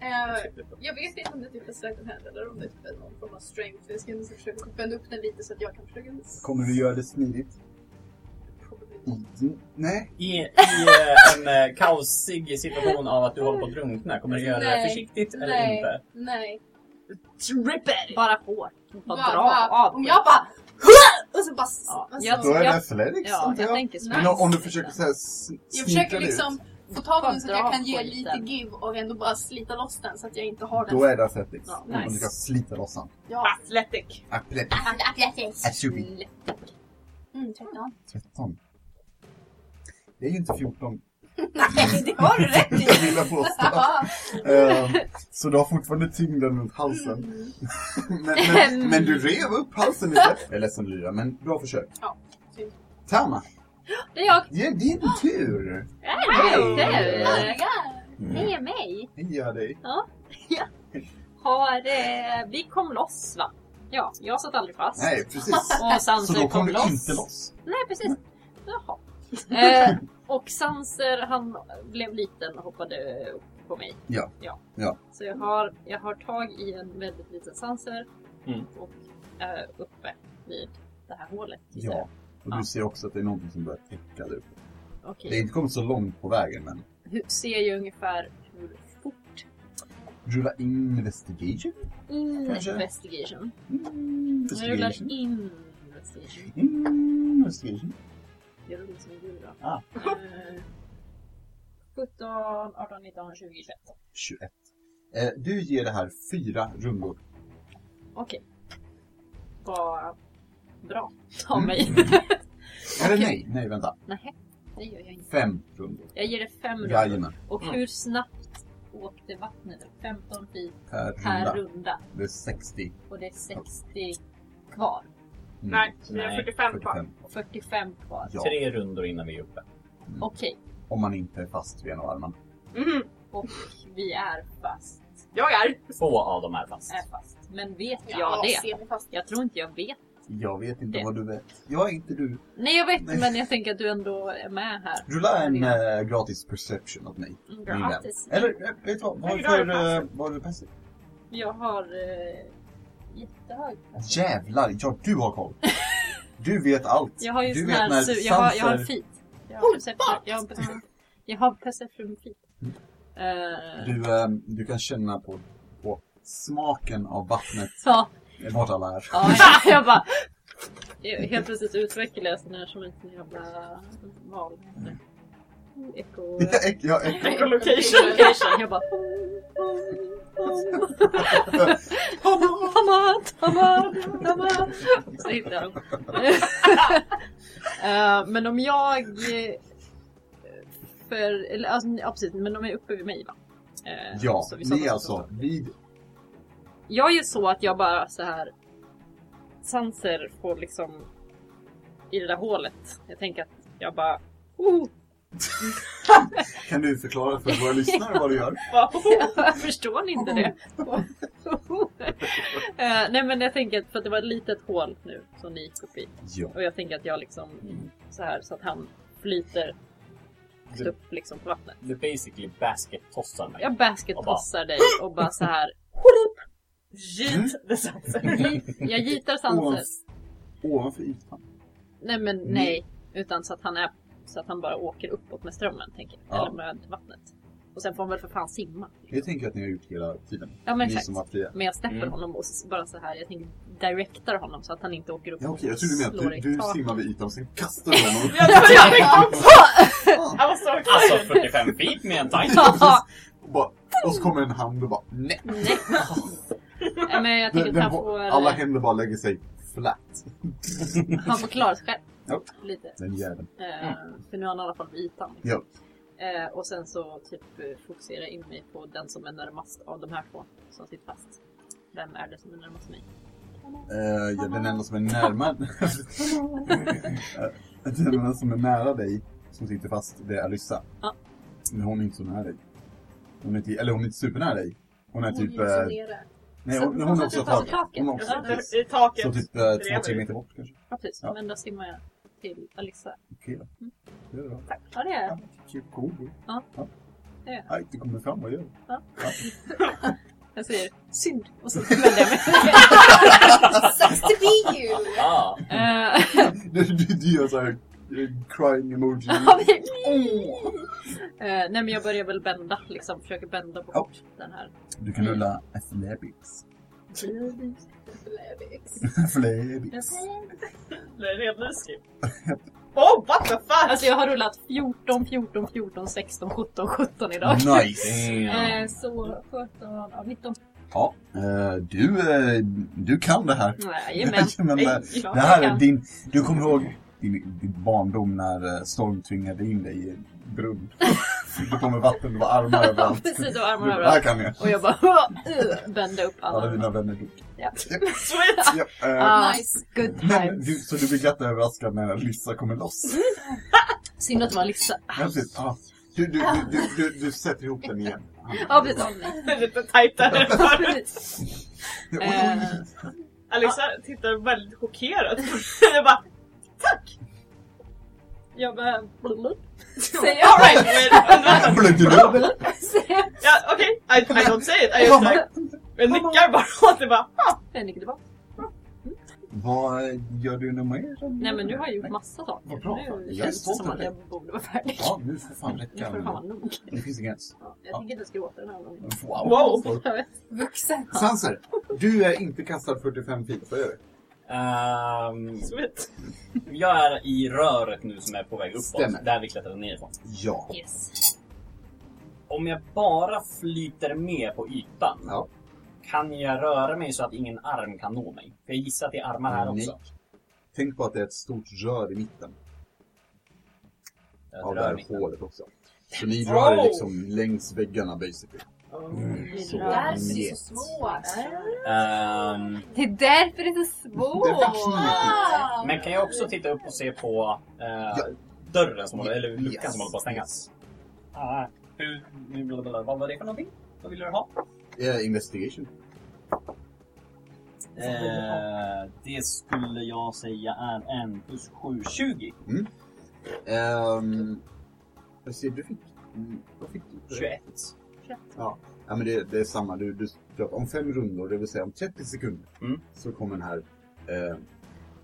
Eh, jag vet inte om det typ är slide and hand eller om det typ är någon form av strength. Jag ska nog försöka spänna upp den lite så att jag kan försöka... Kommer du göra det smidigt? Probably not. Mm. Nej. I, i eh, en eh, kaosig situation av att du håller på att drunkna, kommer du göra det Nej. försiktigt eller Nej. inte? Nej. Rip it! Bara hårt. Bara Bara- dra bara- av. Om jag bara... Och så bara... Ja, alltså, jag- Då är det Jag- athletics, Ja, antar jag tänker så. liksom. Men om- om du försöker så här, s- jag sneaka försöker dig liksom få tag på den så att jag Bara kan ge dra lite skiten. give och ändå bara slita loss den så att jag inte har ut, den. Då är det athletics. Ja, Om du nice. ska slita loss han. Ja. Athletic. Athletics. Athletics. Mm, 13. 13. Det är ju inte 14. Nej, det har du rätt i! Jag vill jag påstå. Ehm, så du har fortfarande tyngden runt halsen. Mm. Men, men, men du rev upp halsen lite. Jag är ledsen Lyra, men bra försök. Ja, synd. Tama, Det är jag. det är din tur. Hej! Oh my Hej! god. Hej är mig. Hej jag dig. Har, eh, vi kom loss va? Ja, jag satt aldrig fast. Nej, precis. Och Så Sanser då kom kom du loss. inte loss. Nej, precis. Jaha. Mm. Eh, och Sanser, han blev liten och hoppade upp på mig. Ja. ja. Ja. Så jag har, jag har tag i en väldigt liten Sanser Mm. och eh, uppe vid det här hålet. gissar jag. Ja. Och du ser också att det är någonting som börjar täcka dig. Okej. Det har inte kommit så långt på vägen, men Hur, ser jag ungefär hur fort? rulla investigation. Kanske. Investigation. Jag Investigation. Mm, rullar in. Investigation. Investigation. Jag rullar som en gura. Ah. liksom Eh, 17, 18, 19, 20, 21. 21. Eh, du ger det här fyra rundor. Okej. Vad bra Mm. av mig. Eller Okej. nej, nej vänta. Nej, det gör jag inte. Fem rundor. Jag ger det fem rundor. Jajamän. Och hur snabbt åkte vattnet? 15 feet Per per runda. runda. Det är 60. Och det är 60 kvar. Mm. Nej, vi har Nej, 45 kvar. 45. Och 45 kvar. Ja, Tre rundor innan vi är uppe. Okej, om man inte är fast vid en av armarna. Mhm. vi är fast. Jag är. Två av dem är fast. Är fast. Men vet jag Ja, det? ser vi fast. Jag tror inte jag vet. Jag vet inte Det. vad du vet. Jag är inte du. Nej, jag vet Nej. men jag tänker att du ändå är med här. Rulla en eh, gratis perception åt mig. Mm, min vän. Grattis. Eller, eh, vet du vad? Nej, jag är Varför eh, passiv. var du passiv? Jag har eh, jättehög present. Jävlar, ja du har koll. Du vet allt. Jag har ju du sån vet här när su- jag, har, jag har en Sanser- feet. Jag har perception. Jag har perception, jag har perception feet. Eh, Du, eh, du kan känna på, på smaken av vattnet, så, vart alla är. ja, jag, jag bara... jag- Helt plötsligt utvecklar jag sån här som en sån jävla val. Echo... Äck- ja, äck- Echolocation. Jag bara... Tamara, Tamara, Tamara. Så hittar jag dem. Eh, Men om jag... eh, För, eller, alltså, ja, precis, men de är uppe vid mig va? Eh, ja, så vi sa ni är så- alltså vid... Jag gör så att jag bara så här Sanser får liksom i det där hålet. Jag tänker att jag bara... Oh, Kan du förklara för våra lyssnare vad du gör? Bara, förstår ni inte det? Eh, nej men jag tänker att för att det var ett litet hål nu som ni gick upp i. Ja. Och jag tänker att jag liksom så här så att han flyter Du, upp liksom på vattnet. du basically basket-tossar mig. Jag baskettossar dig och bara så här. Jeet the Sanser. gi- Jag gitar Sanser. Ovanf- Ovanför ytan. Nej men Mm. nej. Utan så att han är så att han bara åker uppåt med strömmen tänker jag. Ja. Eller med vattnet. Och sen får han väl för fan simma. Jag tänker att ni har gjort hela tiden. Ja men ni exakt. som var fria. Men jag släpper Mm. honom och s- bara så här. Jag tänker direktar honom så att han inte åker upp Ja, och okej, jag trodde du slår menade i att du, du taket. simmar vid ytan och sen kastar du honom. Jag tror jag fick också! I was so Alltså excited. 45 feet med en tank! Ja, och, bara, och så kommer en hand och bara nej. nej. Nej, men jag Den, tänker att den, han får... eh, alla händer bara lägger sig flat. Han får klara sig själv. Ja. Lite. Den jäveln. Eh, För nu har han i alla fall ytan. Ja. Eh, och sen så typ eh, fokusera in mig på den som är närmast av de här två som sitter fast. Vem är det som är närmast mig? Eh, ja, den enda som är närmare... den enda som är nära dig, som sitter fast, det är Alyssa. Ja. Men hon är inte så nära dig. Hon är ty- eller hon är inte supernära dig. Hon är typ... Hon är eh, ju så nere. nej, Så hon, hon, hon är sitter fast också i taget. Hon är taket, också ja. precis. I taket. Så typ eh, två, Bredvid. tre meter bort kanske. Ja, precis. Ja. Men då simmar jag till Alissa. Okej då. Det är bra. Ja, det är Ja, typ cool. Mm. Ja. Det Ja. är- Nej, du kommer fram, vad gör du? jag. säger synd och så vänder jag mig. Sucks to be you! Ja. Eh, Du, du, du gör såhär crying emoji. Ja, men- Eh, nej men jag börjar väl bända liksom, försöker bända på Ja. kort den här. Du kan rulla athletics. Levi's. athletics. Det är en hel ny skrift. Oh, what the fuck! Alltså jag har rullat 14, 14, 14, 16, 17, 17 idag. Nice! Eh, så 17, ja, 19. Ja, eh, du, eh, du kan det här. Jajamän. Jajamän, det, Klart det här jag är kan. din... Du kommer ihåg din, din barndom när eh, Storm tvingade in dig i en brunn. Det kommer vatten, det var armar Ja, överallt. precis, och armarna Det här överallt. kan jag. Och jag bara bände upp Alla alla. dina vänner dog. Ja. Sweet! Ja, eh, Ah, Nice. Good men times. du, så du blir glatt överraskad när Lissa kommer loss. Synd att det var Lissa. Ja, precis. Ja. Du, du, du, du, du, du sätter ihop den igen. Ja precis. Åh, nej. Det är Lite tajtare förut. Precis. Oj, Eh, oj, Alissa tittar väldigt chockerad. Jag bara, Jag bara... blubblub. Säger jag. alright! oj. Blödde du? Säger Ja, okej, I, I don't say it. I just like, jag nickar bara åt det bara. jag. Nick, Eh, det var- Vad gör du nu mer? Nej men nu har jag gjort massa saker. Vad bra. Nu Jag är känns det stolt som att över jag borde vara färdig. Ja, nu får fan Nu får det räcka. fan nog. Det finns en gräns. Ja, Jag tänker inte gråta den här gången. Wow. Wow. Jag vet. Vuxen. Sanser, du är inte kastad 45 feet. Vad gör du? Ehm, Sweet. jag är i röret nu som är på väg uppåt. Stämmer. Där vi klättrade nerifrån. Ja. Yes. Om jag bara flyter med på ytan. Ja. Kan jag röra mig så att ingen arm kan nå mig? För jag gissar att det är armar här Nej. också. Tänk på att det är ett stort rör i mitten Jag av det rör här mig. hålet också. Så ni rör er liksom längs väggarna basically. Det Så, är Därför det är njet. så svårt. Ehm, Det är därför det är så svårt! Det är knivigt. Ah. men kan jag också titta upp och se på eh, dörren som håller, eller luckan som håller på att stängas? Ah, hur, hur- blablabla, vad var det för någonting? Vad ville du ha? Eh, investigation. Eh, det skulle jag säga är en plus 7, 20. Mm. Ehm... jag ser, du fick... Mm, vad fick du? 21. Ja, men det, det är samma. Du, du, du, om fem rundor, det vill säga om 30 sekunder, Mm. så kommer den här... Eh,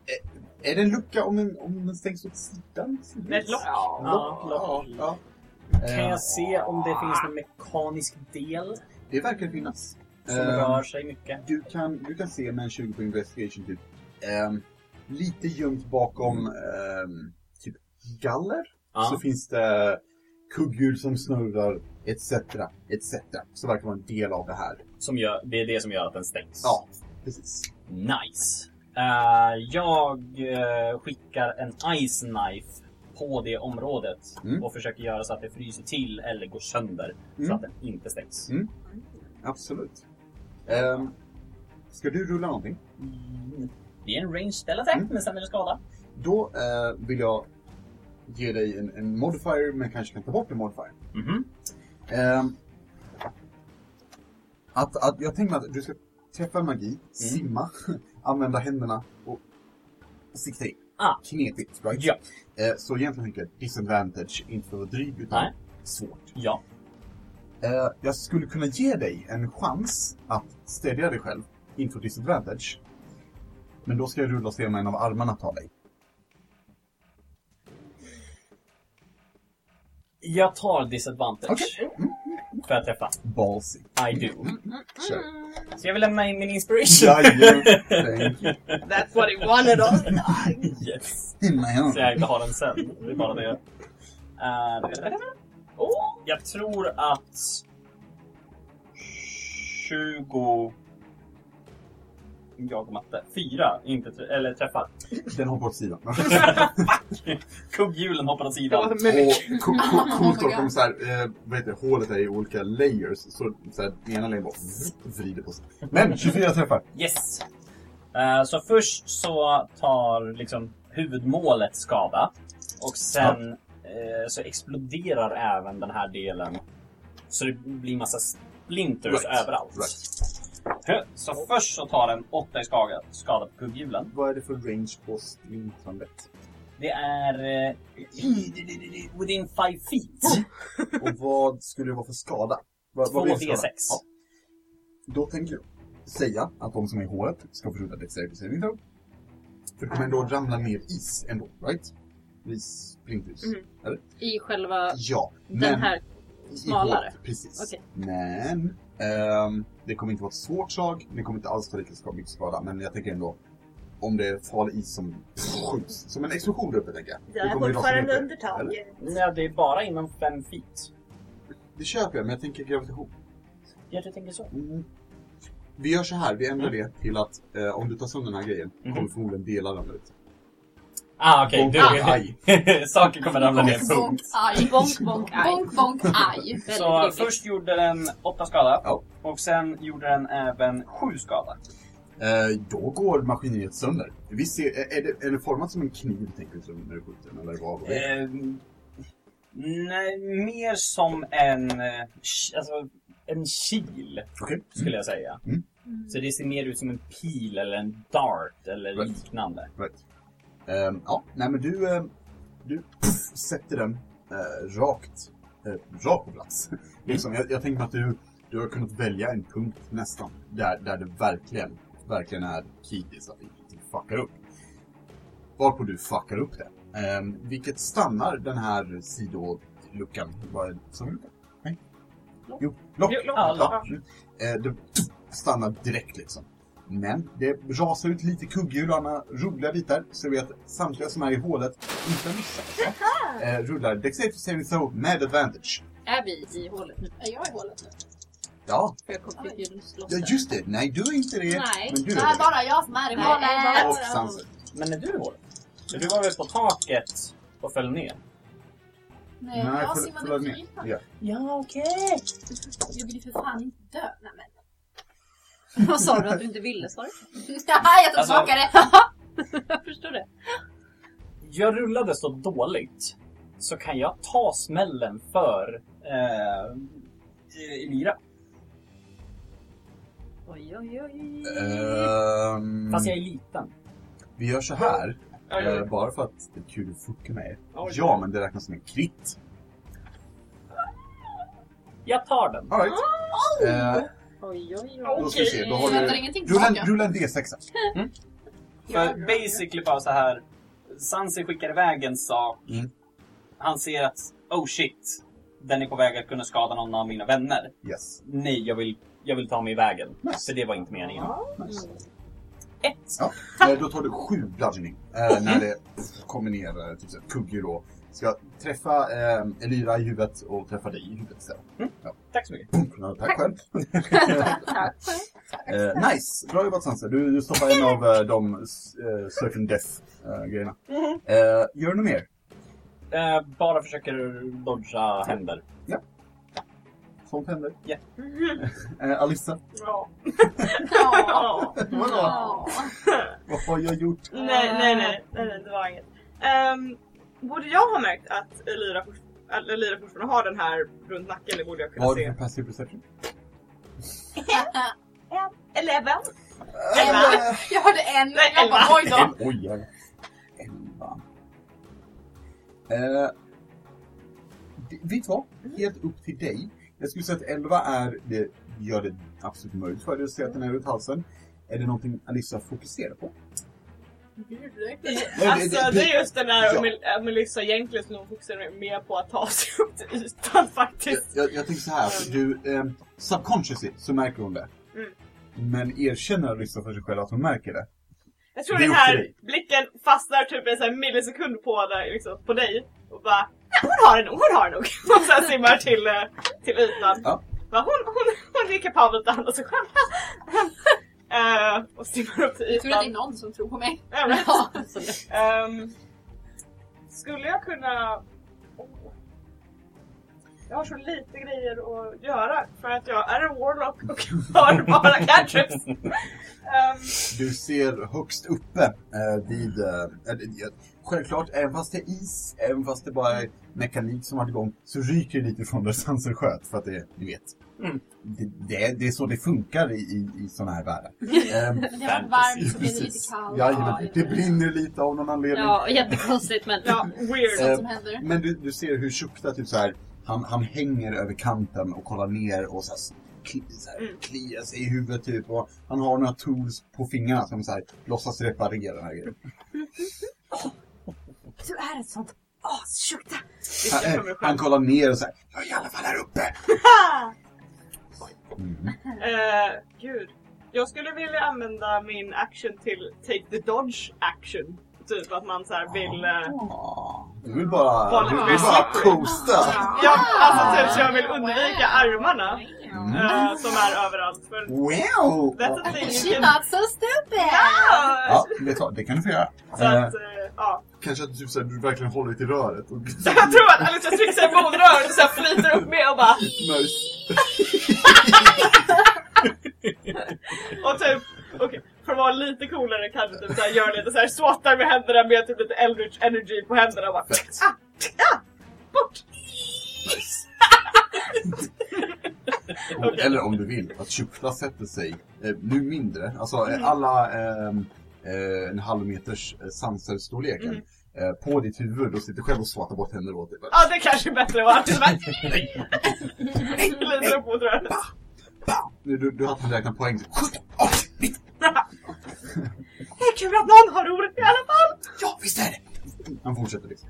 är- är det en lucka om, en, om den stängs åt sidan? Med ett lock. Ja, Ja, ja, ja. Kan Eh, jag se om det finns någon mekanisk del Det verkar finnas. som Eh, rör sig mycket? du, kan, du kan se med en 20 på investigation typ. ehm, lite gömt bakom ehm, typ galler så finns det kugghjul som snurrar etc. etc. Så verkar vara en del av det här. Som gör, det är det som gör att den stängs. Ja, precis. Nice. Eh, jag eh, skickar en ice knife på det området Mm. och försöker göra så att det fryser till eller går sönder så Mm. att den inte stängs. Mm. Absolut. Ehm, ska du rulla någonting? Mm. Det är en range spell attack, Mm. men sen är det skada. Då eh, vill jag ge dig en, en modifier, men kanske kan ta bort en modifier. Mhm. Ehm, att, att, jag tänker mig att du ska träffa magi, Mm. simma, använda händerna och sikta in. Ah. Kinetiskt, right? Ja. Eh, så egentligen tänker jag disadvantage, inte för att vara dryg, utan Nej. svårt. Ja. Eh, jag skulle kunna ge dig en chans att stödja dig själv inför disadvantage. Men då ska jag rulla och se om en av armarna tar dig. Jag tar disadvantage Mm. för att träffa. Ballsy. I do. Mm. Kör. Så jag vill lämna in min inspiration. Jajamän. Thank you. That's what he wanted all Yes. Innan Så jag- jag inte har den sen. Det är bara det. Eh, åh, jag tror att... 20... Jag och matte. Fyra, inte tr- eller träffar. Den hoppar åt sidan. Kugghjulen hoppar åt Det var sidan. så mimik. Och co- co- coolt dock om såhär, eh, vad heter det, hålet är i olika layers. Så, så här, den ena layern bara vrider på sig. Men 24 träffar. Yes! Eh, Så först så tar liksom huvudmålet skada. Och sen eh, så exploderar även den här delen. Så det blir massa splinters Right. överallt. Right. Hö, Så först så tar den åtta i skada, skada på kugghjulen. Vad är det för range på splintrandet? Det är... eh, Within five feet. Och vad skulle det vara för skada? Vad, vad blir 2 det för d skada? 6 Ja. Då tänker jag säga att de som är i hålet ska få skjuta Dexterity Saving Throw. För det kommer ändå ramla ner is ändå, right? Ris, splinteris. Mhm. I själva Ja, den här. i smalare. hålet, Precis. Okej. Men ehm, det kommer inte vara ett svårt slag, det kommer inte alls ta lika ska- mycket skada. Men jag tänker ändå, om det är farlig is som skjuts, som en explosion där uppe tänker jag. Jag Det är kommer ju rasa fortfarande ner. under taget. Nej, det är bara inom fem feet. Det köper jag, men jag tänker gravitation. Ja, du tänker så. Mm. Vi gör så här, vi ändrar det till att eh, om du tar sönder den här grejen Mhm. kommer förmodligen delar ramla ut. Ah, okej. Bonk, aj. du... Saker kommer ramla ner. Bonk, bonk, aj. Bonk, bonk, aj. Bonk, bonk, aj. Väldigt Så trevligt. först gjorde den åtta skada. Ja. Och sen gjorde den även sju skada. Eh, då går maskineriet sönder. Vi ser, är, är, det, är det format som en kniv tänker du som när du skjuter den, eller vad? Eh. Ehm, nej, mer som en, eh, ki- alltså, en kil, Okej. skulle jag säga. Mm. Så det ser mer ut som en pil eller en dart eller Right. liknande. Right. Ehm, ja, nej men du, eh, du pff, sätter den eh, rakt, eh, rakt på plats. liksom, jag, jag tänker mig att du, du har kunnat välja en punkt nästan, där, där det verkligen, verkligen är kritiskt att ingenting fuckar upp. Varpå du fuckar upp det. Ehm, vilket stannar den här sidoluckan. Vad är som lucka? Nej. Lock. Jo, lock. Jo, lock. Ja. Mm. Eh, det stannar direkt liksom. Men det rasar ut lite kugghjul och andra roliga bitar. Så vi att samtliga som är i hålet inte har missat. Eh, rullar Dexterity Saving Throw med advantage. Är vi i hålet nu? Är jag i hålet nu? Ja, För jag kommer Oj. fick ju slåss ja där. just det. Nej, du är inte det. Nej. Men du är Det är det. bara jag som är i Nej, hålet. det är bara- Och Sunset. Men är du i hålet? För du var väl på taket och föll ner? Nej, jag simmade förlåt, fri. nej. Ja. Ja, okej. Jag vill ju för fan inte dö. Nej, men. Vad sa du att du inte ville? Sorry. Haha, jag tar Alltså- tillbaka det. Jag förstår det. Jag rullade så dåligt så kan jag ta smällen för eh, Elira. Oj, oj, oj. Ehm, Fast jag är liten. Vi gör så här. Oj, Eh, oj, bara för att det är kul att fucka med er. oj. Ja, men det räknas som en krit. Jag tar den. All right. Ah, oh! Eh, Oj, oj, då ska vi se. Då har Jag hämtar du... ingenting Rulla, tillbaka. en- rulla en D6. För basically bara så här. Sansi skickar iväg en sak. Mm. Han ser att, oh shit. Den är på väg att kunna skada någon av mina vänner. Yes. Nej, jag vill, jag vill ta mig i vägen. Nice. För det var inte meningen. Nice. Mm. Ett! Eh, Då tar du sju bludgeoning eh, när det kommer ner eh, typ så här kugghjul och ska träffa eh, Elira i huvudet och träffa dig i huvudet istället. Tack så mycket. Tack, Tack själv. eh, nice! Bra jobbat Sanse. Du, du stoppar en av eh, de eh, Certain Death-grejerna. eh, gör du något mer? Eh, bara försöker dodga händer. Sånt händer. Ja. eh, Alissa, Ja. Ja. Ja. vadå? Ja. Vad har jag gjort? Nej, nej, nej, nej, nej, det var inget. Ehm, borde jag ha märkt att Elira, fort, att Elira fortfarande har den här runt nacken? Det borde jag kunna Vad har du se. för passive perception? Eleven! Elva. Jag hörde en. Nej, Jag elva. bara, oj då. En, oj, jävlar. Elva. Eh, det- vet du vad? Helt upp till dig. Jag skulle säga att 11 är, det gör det absolut möjligt för dig att se att den är runt halsen. Är det någonting Alissa fokuserar på? Nej, Alltså det är just den där Ja. ja. Melissa egentligen som hon fokuserar mer på att ta sig upp till ytan jag, faktiskt. jag, jag tänker så här, att du, eh, subconsciously så märker hon det. Mm. Men erkänner Alissa för sig själv att hon märker det? Jag tror det är den upp här till dig. blicken fastnar typ en sån här millisekund på dig, liksom, på dig och bara ja, hon har det nog, hon har det nog. Och sen simmar till, eh, till ytan. Ja. Bara, hon, hon, hon är kapabel att andas sig själv. eh, och simmar upp till Jag tror att det är ytan. någon som tror på mig. Jag vet. Ja. Så det- Ehm, skulle jag kunna... Åh. Jag har så lite grejer att göra för att jag är en warlock och har bara cantrips. Ehm, Du ser högst uppe eh, vid... Eh, eh, ja, självklart, även fast det är is, även fast det bara är mekanik som har varit igång, så ryker det lite från där Sanser sköt, för att det, ni vet. Mm. Det, det, är- det är så det funkar i, i, i sådana här världar. Ehm, Det var varmt så blev det lite precis. kallt. Jajamän, Ja, det brinner lite av någon anledning. Ja, jättekonstigt men... ja, det är weird. Sånt som händer. Men du, du ser hur Shukta typ så här, han, han hänger över kanten och kollar ner och så här, kli, så här, Mm. kliar sig i huvudet typ och han har några tools på fingrarna som så här, låtsas reparera den här grejen. Du är ett sånt as, Shukta! Visst, jag Han, kommer han själv. kollar ner och så här, jag är i alla fall här uppe! Mm. Eh, gud. Jag skulle vilja använda min action till take the dodge action. Typ att man så här vill... eh, Ah, Du vill bara, Bara du vill bli bara slippery. coasta! Ja, Ah! alltså typ så jag vill undvika armarna Mm. eh, som är överallt. För Wow! that's a thing you She's can... not so stupid! Ah! Ja, det, tar- det kan du få göra. Så Eh, att, eh, ja. kanske att du, typ så här, du verkligen håller dig till röret och Jag tror att Alicia trycker sig mot röret och så här flyter upp med och bara... mörs. Och typ, okej, för att vara lite coolare kanske typ såhär gör lite såhär swattar med händerna med typ lite eldritch energy på händerna och bara ah, ah, bort! Okej. Eller om du vill, att Shukla sätter sig, eh, nu mindre, alltså eh, Mm. alla ehm, eh, en halv meters eh, sanser-storleken Mm. Ah. eh, på ditt huvud och sitter själv och swattar bort händer åt dig. Bara, Ja det kanske är bättre att vara alltid bara lite upp mot röret. Nu, du, du hade fått räkna poäng. Det är kul att någon har roligt i alla fall! Ja, visst är det! Han fortsätter liksom.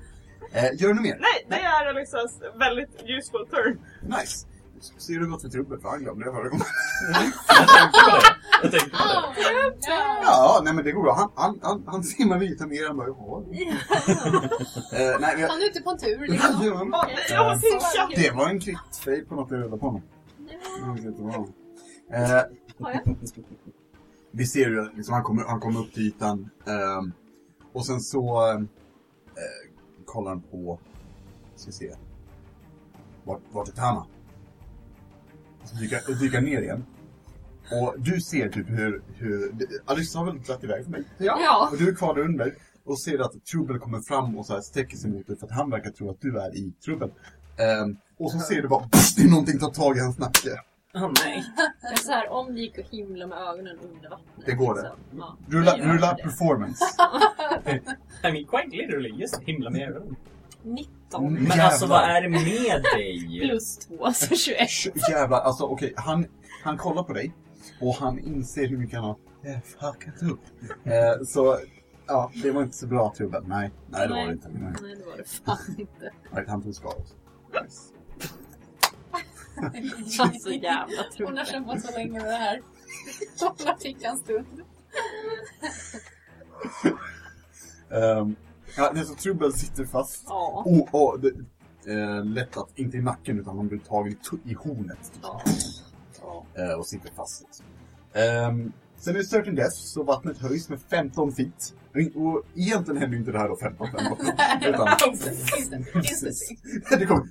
Eh, gör du något mer? Nej, det är Alexas väldigt useful turn. Nice! Ser du gått för trubbel? För han glömde det förra gången. Jag tänkte på det. Jag tänkte på det. Ja. Ja, nej men det går bra. Han, han, han, han simmar vid ytan mer än bara, jaha. eh, nej, men jag... Han är ute på en tur liksom. Åh, nej, jag har sin katt! Det var en kritfejl på något jag rullade på honom. Jag vet inte vad det var. Eh, vi ser ju att liksom, han, kommer, han kommer upp till ytan. ehm, och sen så ehm, eh, kollar han på... Ska se. Vart, vart är Tama? Och så dyker, och dyker ner igen. Och du ser typ hur... hur Alice har väl dragit iväg för mig? Ja. Och du är kvar där under och ser att Trubbel kommer fram och så här sträcker sig mot dig för att han verkar tro att du är i Trubbel. Ehm, och så ser du bara pff, det är någonting tar tag i hans nacke. Åh nej. Men så här, om det gick att himla med ögonen under vattnet. Det går det. liksom. Ja. Rulla, Jag gör rulla det. performance. I mean quite literally, just himla med ögonen. 19 Mm. Men Jävlar. alltså vad är det med dig? plus alltså, 2, så 21. Sh- Jävlar, alltså okej, han, han kollar på dig och han inser hur mycket han har eh, fuckat upp. Eh, så, ja, det var inte så bra Trubbel. Nej, nej det var det inte. Nej. Nej, det var det fan inte. Nej, han tog skada också. Nice. Alltså jävla Hon har trubbel. kämpat så länge med det här. Hon fick en stund. Ehm, ja, det är så Trubbel sitter fast Ja. Oh, oh, det, eh, lätt att, inte i nacken utan han blir tagen i, tu- i hornet. Ja. Ja. Eh, och sitter fast. Liksom. Ehm, sen är det certain death, så vattnet höjs med 15 feet. Och- Och egentligen händer ju inte det här då 15 15. utan Precis. det kommer...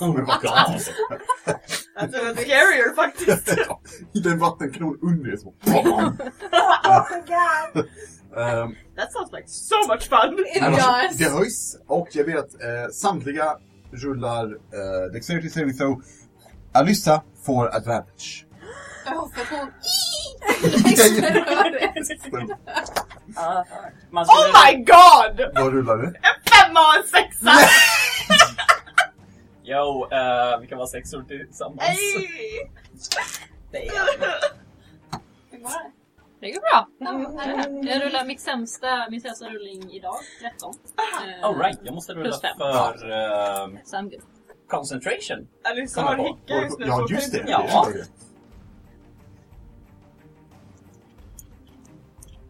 Oh my God. Alltså det var scarier faktiskt. Det är en vattenkron under det som... Ehm, That sounds like so much fun! Annars, det höjs och jag vet att eh, samtliga rullar eh, Dexterity Saving Throw. Alyssa får advantage. Jag hoppas hon... Ah. Man Oh my god! Vad rullar du? Femma och en sexa! Yo, eh, vi kan vara sexor tillsammans. Ej! Hur går det? Det går bra. Ja, Jag rullar mitt sämsta, min sämsta rullning idag, 13. Eh, Alright, jag måste rulla Plus fem. för eh, Så I'm good. concentration. Alice Komma har på. hicka just nu. så Ja, hon just kan det. inte- Ja.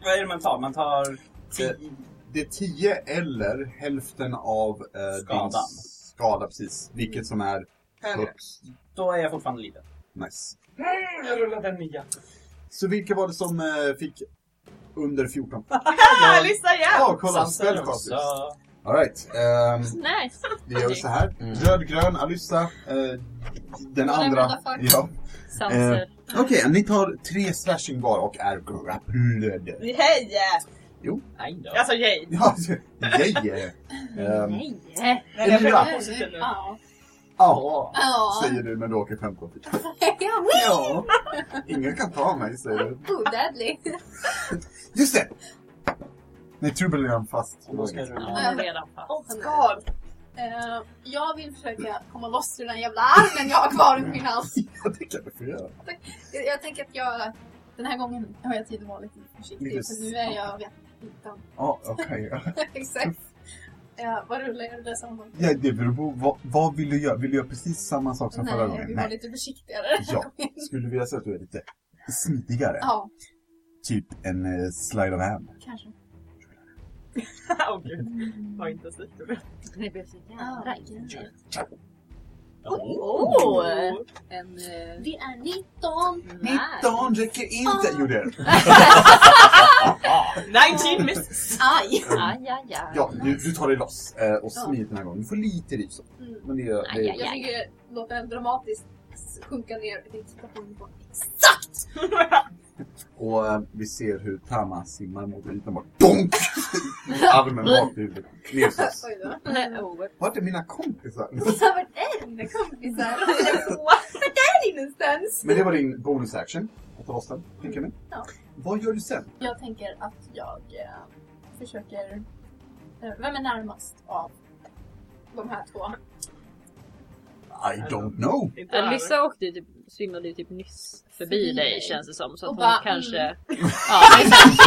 Vad är det man tar? Man tar... Det, det är 10 eller hälften av eh, Skadan. din skada, precis. Vilket som är högst. Då är jag fortfarande liten. Nice. Jag rullar den nya. Så vilka var det som eh, fick under 14? Haha, lista igen! Ja, kolla! Sansa Spellcasters! Rosa. Alright, ehm, Nice! vi gör så här. Röd, grön, Alyssa, eh, den andra. vänta, fuck. Ja. Sanser. Okej, ni tar tre slashing var och är grappled. Hej! Nej då. Alltså yay! Ja, nej! Ehm, Nej! Nej, jag Elvira. blev positiv nu. Ja. ja, Ja. säger du när du åker 15 feet. Ja, Ja, ingen kan ta mig, säger du. oh, deadly. Just det! Nej, Trubel är han fast. Och då ska jag rulla. Jag är redan fast. Oh god! Eh, jag vill försöka komma loss ur den jävla armen jag har kvar runt min hals. Ja, det kan du få göra. Jag, jag tänker att jag... Den här gången har jag tid att vara lite Lite försiktig. För nu är jag vet, utan. Ja, okej. ja. Exakt. Eh, vad rullar jag? Rullar jag samma gång? Ja, det beror på. Vad, vad vill du göra? Vill du göra precis samma sak som förra Nej, gången? vi var lite försiktigare. Ja. Skulle du vilja säga att du är lite smidigare? Ja, Typ en eh, slide of hand. kanske. Åh gud, vad intensivt det blev. Det blev så Ah, jävla Oh. Åh! En... eh, Det är 19! nice. räcker inte! Ah. Gjorde jag. 19 misses! Aj! Aj, aj, aj. Ja, du, du tar dig loss eh, och Ja. smidigt den här gången. Du får lite rys. Mm. Men det, det, Aj, aj, Jag aj. tänker låta den dramatiskt sjunka ner i situationen på exakt! Och eh, vi ser hur Tama simmar mot ytan bara DONK! Armen rakt i huvudet. Knäslås. Oj då. Nej, oh, Vart är mina kompisar? Vart är dina kompisar? Vart är ni någonstans? Men det var din bonusaction. Att ta loss den, tänker ni? Ja. Vad gör du sen? Jag tänker att jag eh, försöker... Eh, vem är närmast av de här två? I don't know. Inte över. Alyssa åkte ju typ, svimmade ju typ nyss förbi Förbi dig dig. känns det som. Så att hon Och bara, kanske... mm. Ja, exakt.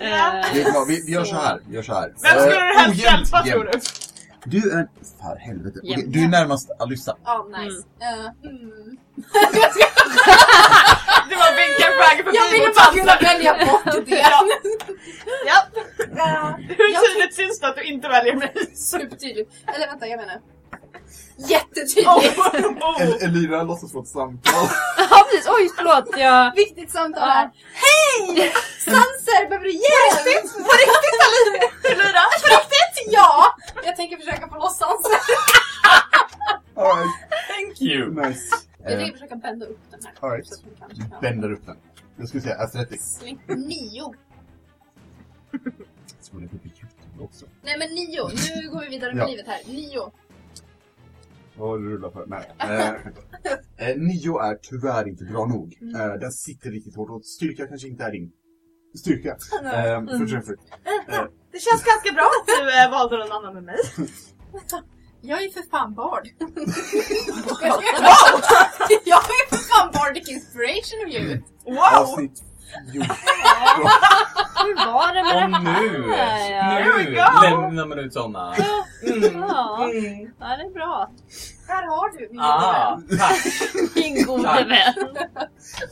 Eh, Vet du vad, vi, vi gör så här. Gör så här. Vem skulle du helst Eh, hjälpa tror jämnt. du? Du är... För helvete. Okej, Jämnt. du är närmast Alyssa. Ja, nice. Eh, mm. Du bara vinkar på vägen Jag förbi ville mot bara kunna Sansa. välja bort det! Ja. Eh, Jag Hur tydligt syns det att du inte väljer mig? Supertydligt. Eller vänta, jag menar. Jättetydligt. Oh, oh. El- Elira låtsas få ett samtal. Ja, precis. Oj, förlåt. Jag... Viktigt samtal Ja. här. Hej! Sanser, behöver du hjälp? På riktigt Alira! Elira! ja! Jag tänker försöka få loss Sanser. Alright, Thank you! nice. Jag Eh, tänker försöka bända upp den här. All right. Så att hon kanske kan- bänder upp den. Jag skulle säga athletics. Släng- Nio. Jag tror det blir YouTube också. Nej men nio. Nu går vi vidare med Ja. livet här. Nio. Vad har du rullat för? Nej. Eh, eh, nio är tyvärr inte bra nog. Eh, den sitter riktigt hårt och styrka kanske inte är din styrka. Eh, förträffligt. Det känns ganska bra att du eh, valde någon annan än mig. Jag är för fan bard. jag är för fan bardic inspiration of you. Wow! Avsnitt jo, Hur var det med Och det nu! här? Ja. Here we Nu go. lämnar man ut såna. Mm. Ja. Mm. ja, det är bra. Här har du min ah. Ah, tack. Din gode Tack. vän.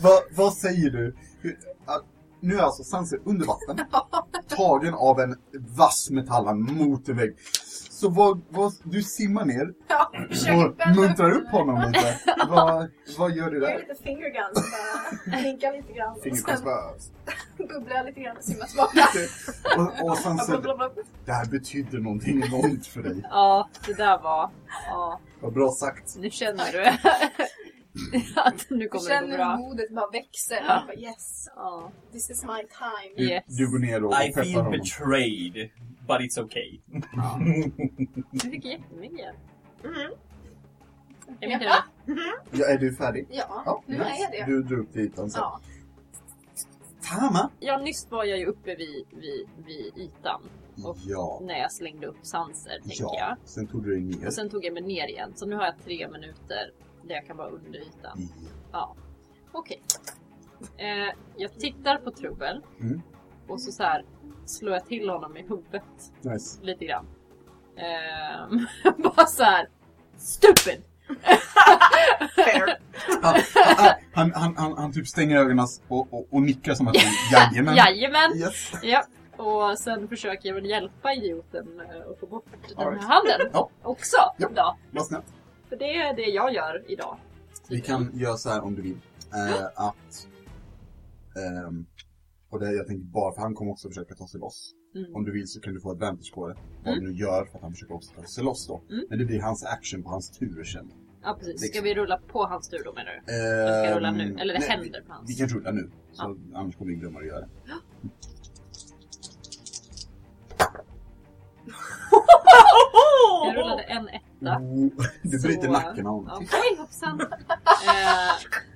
vad, vad säger du? Hur- ah, Nu är alltså Sanser under vatten, tagen av en vass metall mot en vägg. Så vad, vad, du simmar ner Ja, försöker och bända muntrar den upp här. honom lite. Vad, vad gör du Jag gör där? lite finger guns bara. Blinkar lite grann. och Fingerkors Sen bara... bubblar jag lite grann och simmar tillbaka. Och, och Sanser, Blablabla. det här betyder någonting enormt för dig. Ja, det där var... Ja, Vad bra sagt. nu känner du att nu kommer det Jag gå känner hur bra. modet bara växer. Ja. Jag bara, yes, Ja. this is my time. Du, Yes. du går ner och I peppar feel honom. betrayed, but it's okay. Du fick jättemycket. Mm. Jag vet Ja. inte. Ja, är du färdig? Ja, Ja, nu nice. är jag det. Du drar upp till ytan sen. Ja. Tama! Ja, nyss var jag ju uppe vid, vid, vid ytan Och- Ja. när jag slängde upp sanser, tänker jag. Ja. Sen tog du dig ner. Och sen tog jag mig ner igen. Så nu har jag tre minuter där jag kan vara under ytan. I- Okej. Eh, jag tittar på Trubbel. Mm. Och så, så här slår jag till honom i huvudet Nice. lite grann. Ehm, bara så här. Stupid! Fair. Han, han, han, han, han, han typ stänger ögonen och, och, och nickar som att jajamän. Jajamän! Yes. Ja. Och sen försöker jag väl hjälpa idioten eh, att få bort den här Alright. handen Ja. också Ja. idag. Vad snällt. För det är det jag gör idag. Vi kan göra så här om du vill. Eh, att... ehm, och det här, jag tänker bara för han kommer också försöka ta sig loss. Mm. Om du vill så kan du få advantage på det. Vad du nu gör för att han försöker också ta sig loss då. Mm. Men det blir hans action på hans tur sen. Ja precis. Ska vi rulla på hans tur då menar du? Jag liksom- Ehm, ska rulla nu. Eller det nej, händer på Vi hans. kan rulla nu. Så annars kommer vi glömma att göra det. Jag rullade en etta. Oh, du Så- bryter nacken av Ja, honom. Oj hoppsan! eh,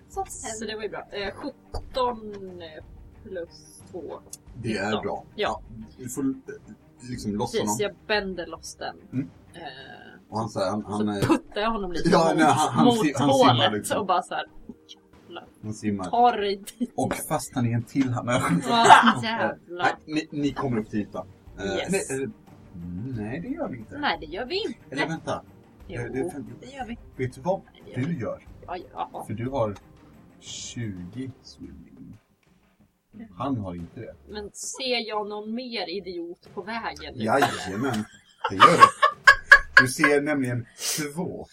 Så så det var ju bra. Eh, 17 plus 2. Det är Ja. bra. Ja. Du får eh, liksom loss honom. Precis, jag bänder loss den. Mm. Eh, Och han säger, han, han, så eh, puttar jag honom lite Ja, mot, nej, han- han mot si- han simmar hålet liksom. och bara såhär, han simmar. tar dig dit. Och fast han är en till han Vad Nej, jävlar. ni, ni kommer upp till ytan. Eh, Yes. nej, eller- mm, nej, det gör vi inte. Nej, det gör vi inte. Eller vänta. Jo, Eh, det, det gör vi. vet du vad Nej, det gör vi. du gör? Ja, ja. För du har 20 swimming. Han har inte det. Men ser jag någon mer idiot på vägen? nu? Jajamän, det gör det. Du ser nämligen två.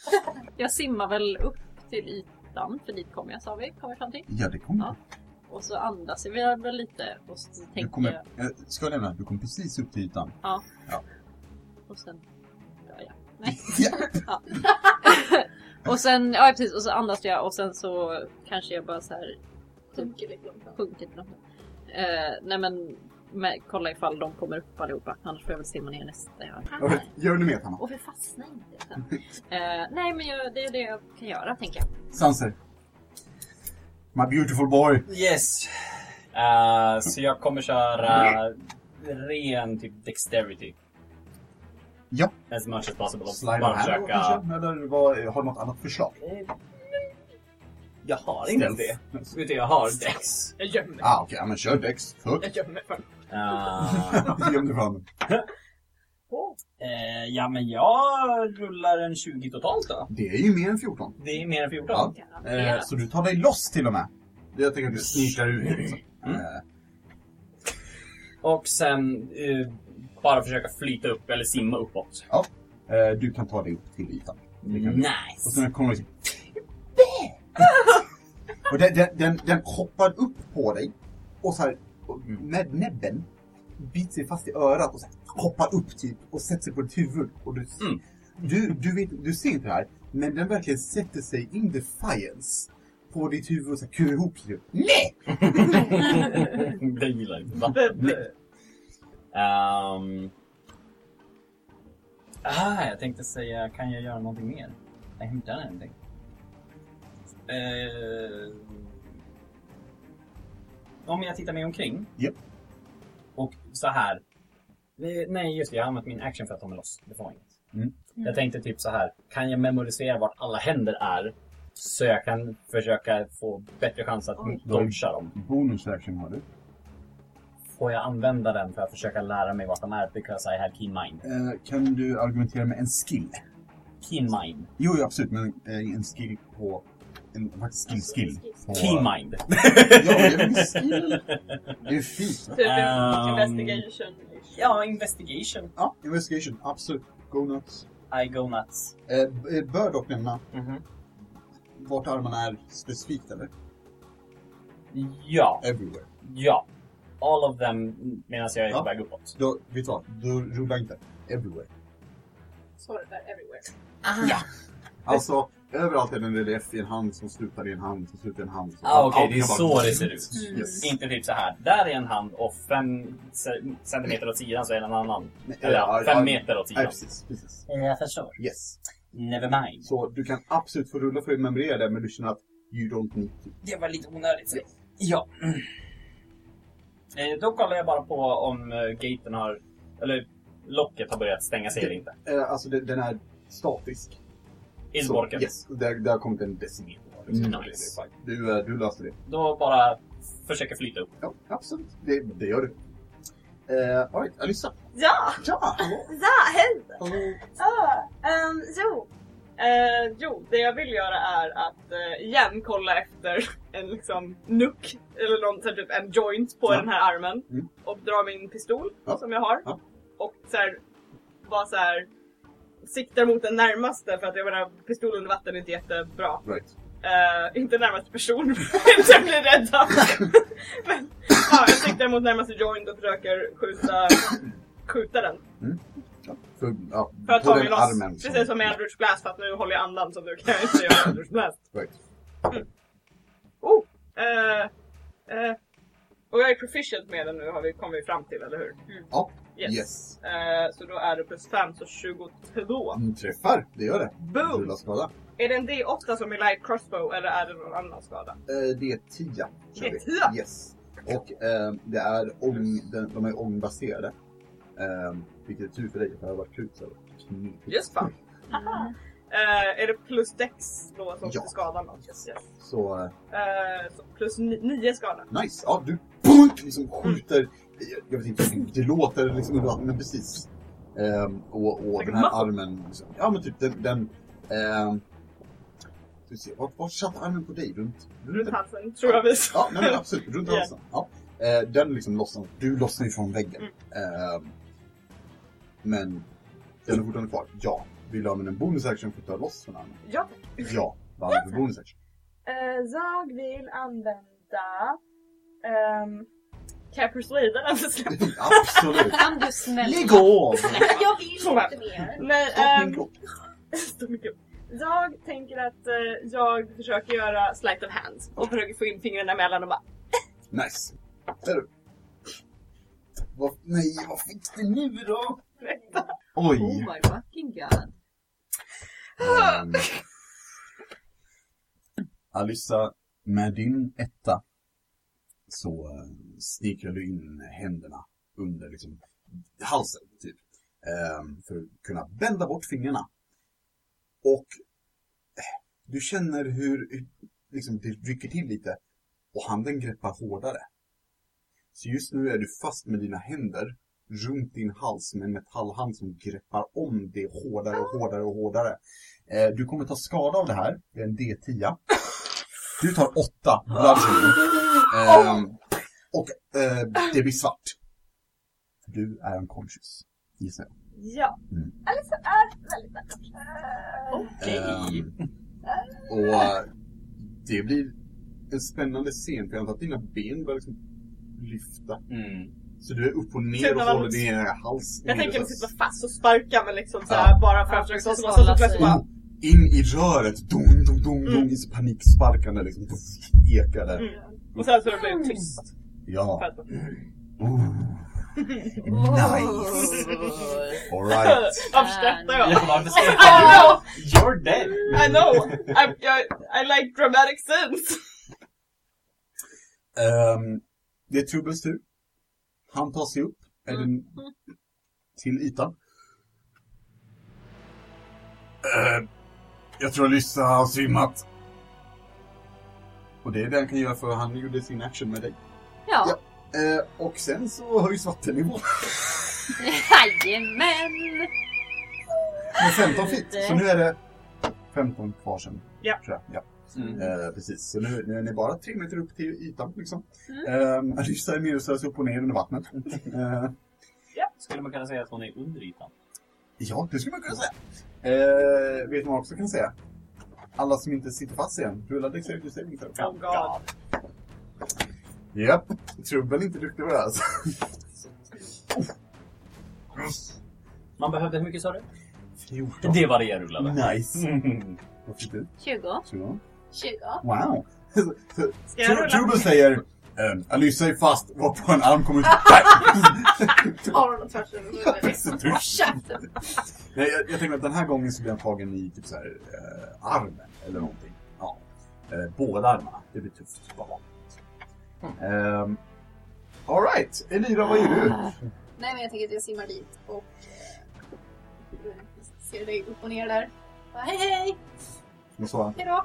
Jag simmar väl upp till ytan, för dit kommer jag sa vi, kommer fram till. Ja, det kommer Ja. Och så andas jag väl lite och så du. du tänker kommer, jag jag ska jag nämna, du kommer precis upp till ytan. och sen dör jag. Ja. Och sen, ja precis, och så andas jag och sen så kanske jag bara så här Sjunker lite långsamt. sjunkit något. Eh, nej men med, kolla ifall de kommer upp allihopa, annars får jag väl simma ner nästa jag Okej, Gör du mer, Hanna? Och vi fastnar inte sen. Eh, nej men jag, det är det jag kan göra tänker jag. Sanser. My beautiful boy. Yes! Eh, så jag kommer köra ren typ dexterity. Ja. As much as possible. Slide bara här då, försöka... kanske? Eller vad, har du något annat förslag? Jag har inte Stealth. det. Utan jag har dex. Jag gömmer. Ah, okej, ja, men kör Dex. Fuck. Jag gömmer för Eh, Göm dig fram. eh, ja men jag rullar en 20 totalt då. Det är ju mer än 14. Det är mer än 14. Eh, så du tar dig loss till och med. Jag tänker att du snikar ut liksom. Mm. Eh, Och sen eh, bara försöka flyta upp eller simma uppåt. eh, du kan ta dig upp till ytan. Det kan du. Och Nice! sen kommer du Och den, den, den, den hoppar upp på dig och så här och med näbben biter sig fast i örat och så här, hoppar upp typ och sätter sig på ditt huvud. Och du, Mm. du, du, vet, du ser inte det här, men den verkligen sätter sig in defiance på ditt huvud och så här, kurar ihop sig. Nej! Den gillar inte vatten. det. Ehm. ah, jag tänkte säga, kan jag göra någonting mer? Jag hämtar någonting. Uh, om jag tittar mig omkring. Japp. Och så här. Eh, Nej, just det. Jag har använt min action för att ta mig loss. Det var inget. Mm. Jag tänkte typ så här. Kan jag memorisera vart alla händer är? Så jag kan försöka få bättre chans att Oj. dodga dem. Bonus action har du. Får jag använda den för att försöka lära mig vart de är? Because I have keen mind. Eh, kan du argumentera med en skill? Keen mind. Jo, jo, absolut, men eh, en skill på... En faktiskt skill, skill. På, Keen mind. Ja, det är en skill. Det är fint. va? Typ Ehm. investigation. Ja, investigation. Ja, investigation, absolut. Go nuts. I go nuts. Eh, b- eh, bör dock nämna Mhm. vart armarna är specifikt, eller? Ja, Everywhere. ja. All of them medan jag är Ja. på väg uppåt. Då, vet du vad? Du rullar inte. Everywhere. Så var det där everywhere. Alltså, överallt är det en relief i en hand som slutar i en hand som slutar i en hand. som- Ah, okej, det är Allting bara- så det ser ut. Mm. Yes. Inte typ så här. Där är en hand och fem ce- centimeter åt sidan så är det en annan. Nej, Eller Eh, ja, ja, ja, fem meter Nej, åt sidan. precis, precis. Eh, Jag förstår. Yes. Never mind. Så du kan absolut få rulla för att memorera det, men du känner att you don't need to. Det var lite onödigt. Så. Ja. Eh, Då kollar jag bara på om eh, gaten har... Eller locket har börjat stänga sig eller inte. Eh, alltså, den, den är statisk. Så, Isborken. Yes, där, där har kommit en decimeter. Mm. Det- det är fine. Du, eh, du löste det. Då bara försöker flyta upp. Ja, absolut. Det, det gör du. Eh, all right, Alyssa. Ja! Ja! hallå. Ja, hej! Hallå. Ja, ehm, jo. Eh, jo, det jag vill göra är att eh, igen kolla efter en liksom nuck eller någon, så här, typ en joint på Ja. den här armen Mm. och dra min pistol Ja. som jag har Ja. och så här, bara så här siktar mot den närmaste för att jag menar pistol under vatten är inte jättebra. Right. Eh, inte närmaste person, inte jag blir rädd av. Men ja, jag siktar mot närmaste joint och försöker skjuta, skjuta den. För, ja, För att på ta den mig loss. armen. Precis som med Eldritch Blast fast nu håller jag andan så nu kan jag inte göra Eldritch Blast. Right. Oh! Eh, eh, och jag är proficient med den nu har vi kommit fram till, eller hur? Mm. Ja. Yes. Yes. Eh, så då är det plus 5 så 22. Mm, träffar, det gör det. Boom! Rulla skada. Är det en D8 som är light crossbow eller är det någon annan skada? Eh, det är 10. kör Det är vi. 10. Yes. Och eh, det är ång, den, de är ångbaserade. Eh, vilket är tur för dig, för jag har varit krut så här. knepigt. Just fan. Eh, är det plus dex då som Ja. är skadan då? Yes, yes. Så eh, Eh, så plus 9 skada. nice. Ja, du punk, liksom skjuter. Jag, jag vet inte, det låter liksom under vattnet, men precis. Ehm, och, och den här armen. Liksom, ja men typ den... den ehm, ska vi se, var, var satt armen på dig? Runt, Runt halsen tror jag visar. Ja, nej, men absolut. Runt Ja. halsen. Ja. Eh, den liksom lossnar. Du lossnar ju från väggen. Mm. Eh, men den är fortfarande kvar. Ja. Vill du använda en bonus action för att ta loss från armen? Ja. Ja. Vad använder du för bonus action? Eh, jag vill använda... Um, kan jag persuada den att släppa? absolut. Kan du snälla? Lägg av! Ehm, Jag vill Så väl. inte mer. Nej, Ta ehm, min klock. så mycket. Jag tänker att eh, jag försöker göra sleight of hand och försöker få in fingrarna emellan och bara Nice. Ser du? Vad, nej, vad fick du nu då? Oj. Oh my fucking god. Ehm. Alyssa, med din etta så eh, snikrar du in händerna under liksom, halsen, typ. Ehm, för att kunna bända bort fingrarna. Och eh, du känner hur hur, liksom, det rycker till lite och handen greppar hårdare. Så just nu är du fast med dina händer runt din hals med en metallhand som greppar om det hårdare och hårdare och hårdare. Eh, du kommer ta skada av det här. Det är en D10. Du tar 8 bludgeoning. Ehm, och eh, det blir svart. För du är unconscious. Gissar jag. ja. Mm. Alice är väldigt vacker. Ehm, och eh, det blir en spännande scen. För jag antar att dina ben börjar liksom lyfta. Mm. Så du är upp och ner Tunar och man- håller din ena hals. Typ Jag nere tänker typ att så- sitta fast och sparka men liksom Ja. såhär bara för Ja, att försöka precis, stå så hålla plötsligt sig. bara in i röret, dong, dong, dong, Mm. dong, i så paniksparkande liksom, ekar det. mm. Och sen så det blev tyst. För Ja. att, Ooh. Nice! Alright. varför skrattar jag? Ja, varför ska I jag... know! You're dead! I know! I, I, I like dramatic scenes! Ehm, det är Trubbels tur. Han tar sig upp, eller till ytan. Ehm, jag tror Lyssa har svimmat. Och det är det han kan göra för han gjorde sin action med dig. Ja, Ehm, och sen så höjs vattennivån jajamän! med 15 feet. Så nu är det 15 kvar sen. Ja. Tror jag. ja. Mm. Eh, precis, så nu, nu är ni bara tre meter upp till ytan liksom. Mm. Eh, Alyssa är med och slös upp och ner under vattnet. Eh, Skulle man kunna säga att hon är under ytan? ja, det skulle man kunna säga. Eh, vet man också kan säga. Alla som inte sitter fast igen, rulla dexterity saving throw. Oh god. Japp, Trubbel är inte duktig på det här, alltså. Man behövde, hur mycket sa du? 14. Det var det jag rullade. Nice. Mm. Vad fick du? 20. 20. 20. Wow. Ska jag Tru- rulla? Trubbel säger ehm, Alyssa är fast, varpå en arm kommer ut. Tar honom tvärs över huvudet. Så Alltså, du- Nej, jag, jag tänker att den här gången så blir han tagen i typ så här, eh, armen eller någonting. Ja. Eh, båda armarna. Det blir tufft. Mm. Alright, Elira vad gör du? Ah. Nej men jag tänker att jag simmar dit och eh, ser dig upp och ner där. Bara, hej hej! Hon sa, Hejdå!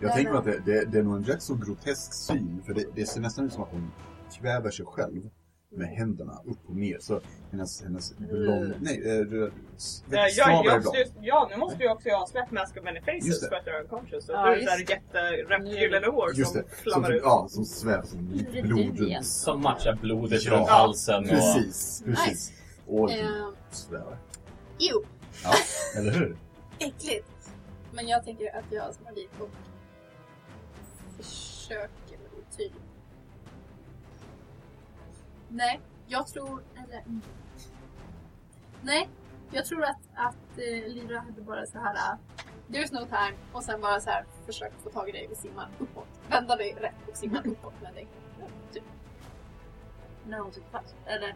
jag tänker att det, det, det är nog en rätt så grotesk syn för det, det ser nästan ut som att hon kväver sig själv med händerna upp och ner. Så hennes, hennes blond... Nej, eh, Eh, röd... Jag, jag, blond. måste ju- ja, nu måste ju också jag ha släppt Mask of Many Just Faces det. för att jag är unconscious. Så Ja, nu är det just såhär jättereptilgyllene hår Just som det. Som, flammar typ- ut. ja, som svävar som blod igen. runt. Som matchar blodet Ja. runt halsen och... Precis, precis. Nice. Och Ehm, svävar. Jo, Eller hur? äckligt! men jag tänker att jag som har dit och försöker väl typ. Nej, jag tror... Eller... mm. Nej, jag tror att, att eh, Lyra hade bara så här... eh, There's no time. Och sen bara så här försökt få tag i dig och simma uppåt. Vända dig rätt och simma uppåt med dig. Typ. När hon sitter fast. Eller...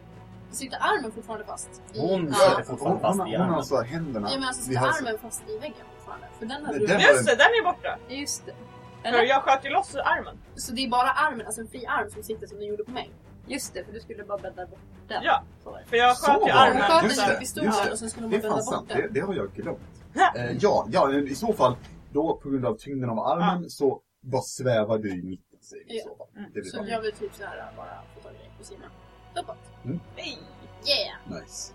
Sitter armen fortfarande fast? i- Hon Ja. sitter fortfarande hon, fast hon, i hon har armen. alltså händerna. Ja men alltså vid sitter halsen. armen fast i väggen fortfarande? För den hade Nej, du... den- Just det, den är borta! Just det. För Eller? jag sköt ju loss armen. Så det är bara armen, alltså en fri arm som sitter som den gjorde på mig? Just det, för du skulle bara bädda bort den. Ja. Så var det. För jag Så sköt ju var det. Hon armen. sköt så den här. just med pistolen det. och sen skulle Det man är fan vända sant, bort det, den. det har jag glömt. Ja. Eh, ja, ja, i så fall, då på grund av tyngden av armen så bara svävar du i mitten säger vi i Ah. Ja. så fall. Mm. Det blir Så bra. jag vill typ såhär bara få tag i dig på sidan. Uppåt. Nej. Yeah! Nice.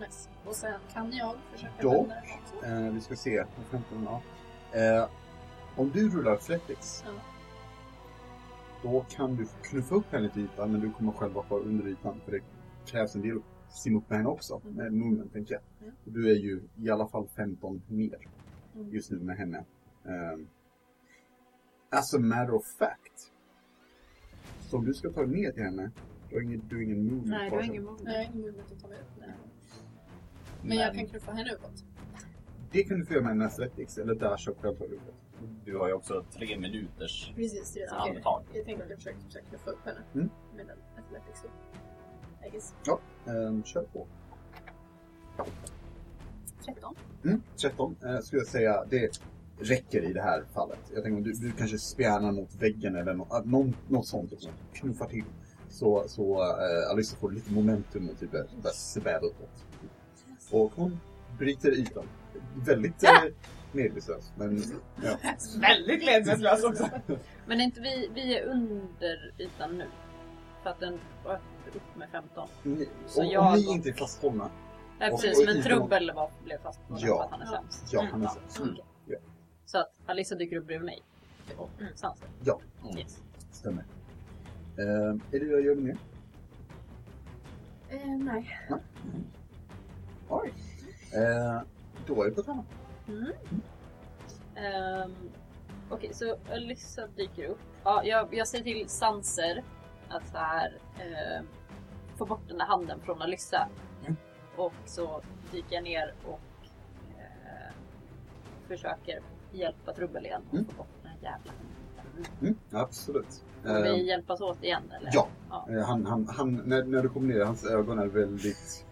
Nice. Och sen kan jag försöka Då. vända den också. Eh, vi ska se. Vad femton, ja. Eh, om du rullar Athletics Ja. då kan du knuffa upp henne till ytan men du kommer själv vara kvar under ytan för det krävs en del att simma upp med henne också. Mm. Med movement tänker jag. Ja. Och Du är ju i alla fall 15 mer Mm. just nu med henne. Um, as a matter of fact. Så om du ska ta ner till henne, du har ingen, du har ingen movement Nej, du kvar har sen. ingen mod. Nej, jag har ingen möjlighet att ta mig upp. Nej. Men jag kan knuffa henne uppåt. Det kan du få göra med en Athletics eller där så självklart. Du har ju också tre minuters Precis, det är det jag tänker. andetag. Jag tänker att jag försöker, typ försöker knuffa upp henne. Mm. Med den athletics då. I guess. Um, kör på. 13. Mm, 13 eh, skulle jag säga. Det räcker i det här fallet. Jag tänker om du, du kanske spjärnar mot väggen eller nå- äh, någon, något sånt. Liksom. Knuffar till. Så, så eh, Alissa får lite momentum och typ börjar börjar sväva uppåt. Och hon bryter ytan. Väldigt eh, medvetslös. Men ja. Väldigt glädjeslös också. Men är inte vi, vi är under ytan nu? För att den var upp med 15. Ni, Så om, om jag ni då? inte är fasthållna. Nej Och- precis, och men ytan- Trubbel var, blev fast på den Ja. för att han är sämst. Ja, han är Ja. sämst. Mm. Ja. Så att Alissa dyker upp bredvid mig. Och Sanser. Ja. Yes. Stämmer. Eh, är det jag gör nu? Eh, nej. Oj. Eh, då är det på trappan. Ehm, Okej, så Alissa dyker upp. Ja, jag, jag säger till Sanser att så här, ehm, få bort den där handen från Alissa. Mm. Och så dyker jag ner och eh, försöker hjälpa Trubbel igen. Och Mm. få bort den här jävla handen. Mm, absolut. Får Eh, vi hjälpas åt igen eller? Ja. Ja. Eh, Han, han, han, när, när du kommer ner, hans ögon är väldigt...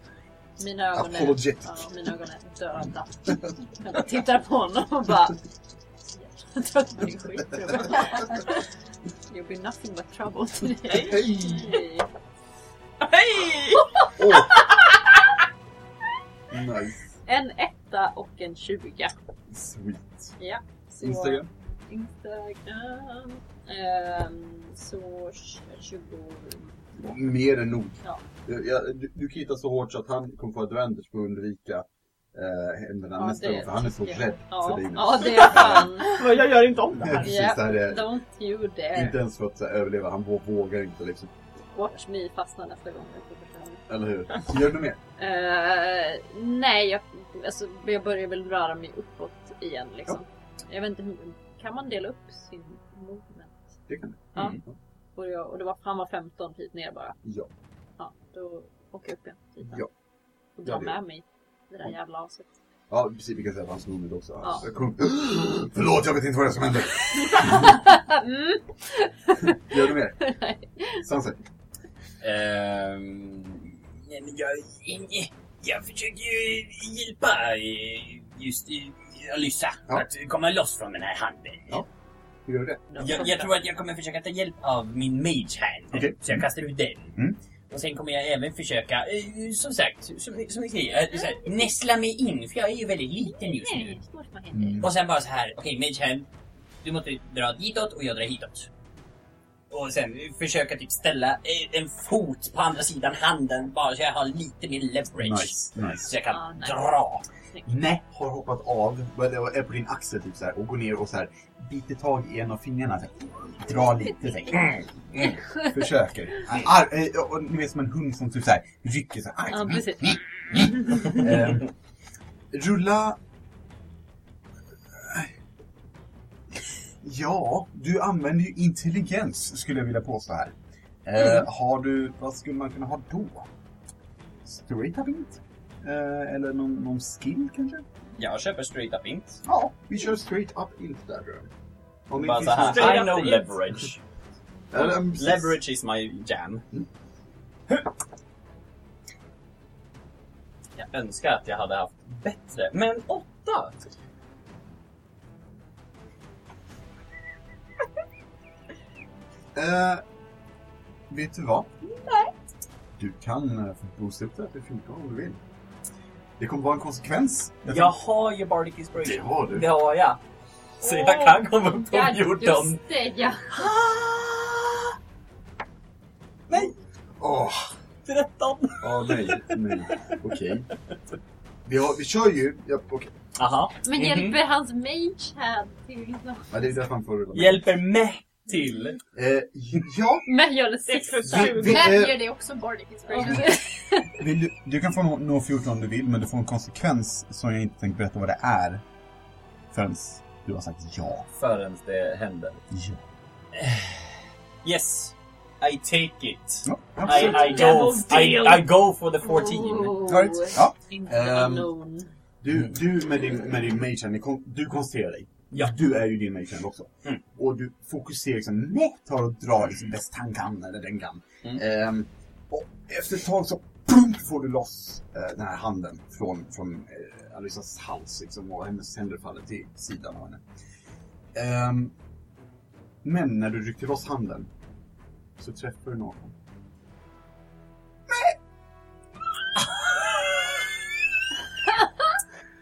Mina ögon är, Apologetic. ja, mina ögon är döda. Jag bara tittar på honom och bara... Jag tror att det blir skit Trubbel. You'll be nothing but trouble today. Hej! Hej! Åh! nice. En etta och en tjuga. Sweet. Så Instagram? Instagram. Ehm, så 20... Mer än nog. Ja. Jag- jag- du, du kittar så hårt så att han kommer få advantage på att undvika eh, händerna Ja, nästa det gång. För han är så tycker rädd Ja, för dig nu. ja, det är fan. Men Jag gör inte om det här. Precis, Ja. det här är Don't you inte dare. ens för att så här, överleva. Han vå- vågar inte liksom. Watch me fastna nästa gång. jag får försöka. Eller hur? Gör du mer? Eh, nej, jag, alltså, jag börjar väl röra mig uppåt igen liksom. Jag vet inte, hur- kan man dela upp sin movement? Det kan du. Ja. Mm. Och, jag, och det var, han var 15 hit ner bara. Ja. Ja, då åker jag upp igen. dit. Ja. Och tar Ja, det gör med mig det där jävla aset. Ja, precis. Vi kan säga att hans nummer också. Ja. Jag kom... Förlåt, jag vet inte vad det är som hände. Mm. Gör du mer? Nej. Sunset. Ehm, nej, men jag, eh, jag försöker ju hjälpa eh, just eh, Alyssa Ja. att komma loss från den här handen. Ja. Hur gör du det? Jag, jag tror att jag kommer försöka ta hjälp av min mage hand. Okej. Så jag kastar ut den. Mm. Och sen kommer jag även försöka, eh, som sagt, som, som ni säger, eh, så här, näsla mig in. För jag är ju väldigt liten just nu. Mm. Och sen bara så här, okej mage hand. Du måste dra ditåt och jag drar hitåt. Och sen försöka typ ställa eh, en fot på andra sidan handen bara så jag har lite mer leverage. Nice, nice. Så jag kan Ah, nice. dra. Nä har hoppat av, eller är på din axel typ så här, och går ner och så här, biter tag i en av fingrarna. Så här, drar lite så här, Försöker. Ar- eh, och ni vet som en hund som typ så här, rycker så här. Ja, precis. Eh, rulla... Ja, du använder ju intelligens skulle jag vilja påstå här. Mm. Eh, har du, vad skulle man kunna ha då? Straight up int? Eh, eller någon, någon skill kanske? Jag köper straight up int. Ja, vi kör Straight up int där tror jag. Om det Bara finns så här, något- Straight I up know int. leverage. Eller, Ehm, mm, precis. Alltså, Leverage is my jam. Jag önskar att jag hade haft bättre, men åtta! Eh, vet du vad? Nej. Du kan eh, få boosta upp det här till 14 om du vill. Det kommer vara en konsekvens. Jag har ju Bardic Det Inspiration. har du. Det har jag. Så jag kan komma upp på Ja, 14. just det ja. Åh, 13! åh, nej, nej. Okej. Vi, har, vi kör ju... Ja, okej. Aha. Men Mm-hmm. Mhm. hjälper hans mage här till liksom- något? ja, det är därför man får rulla. Hjälper mig till. Eh, ja, Men gör det Det är sist. plus Vi- 20. vi- eh, Men ger det också Bardic Inspiration? Vill du, du kan få nå- nå 14 om du vill, men du får en konsekvens som jag inte tänker berätta vad det är förrän du har sagt ja. Förrän det händer. Ja. Yes! I take it. ja I, absolut. I, go, Devil's I, deal. I go for the 14. Oh, Alright, ja. Inte Ehm, unknown. Du, du med din, med din mage hand, ni kon- du koncentrerar dig. Ja. Du är ju din mage hand också. Mm. Och du fokuserar liksom, nej, tar och drar liksom bäst han kan, eller den kan. Mm. Ehm, och efter ett tag så pum, får du loss eh, den här handen från, från eh, Alysas hals liksom, och hennes händer faller till sidan av henne. Ehm, men när du rycker loss handen så träffar du någon.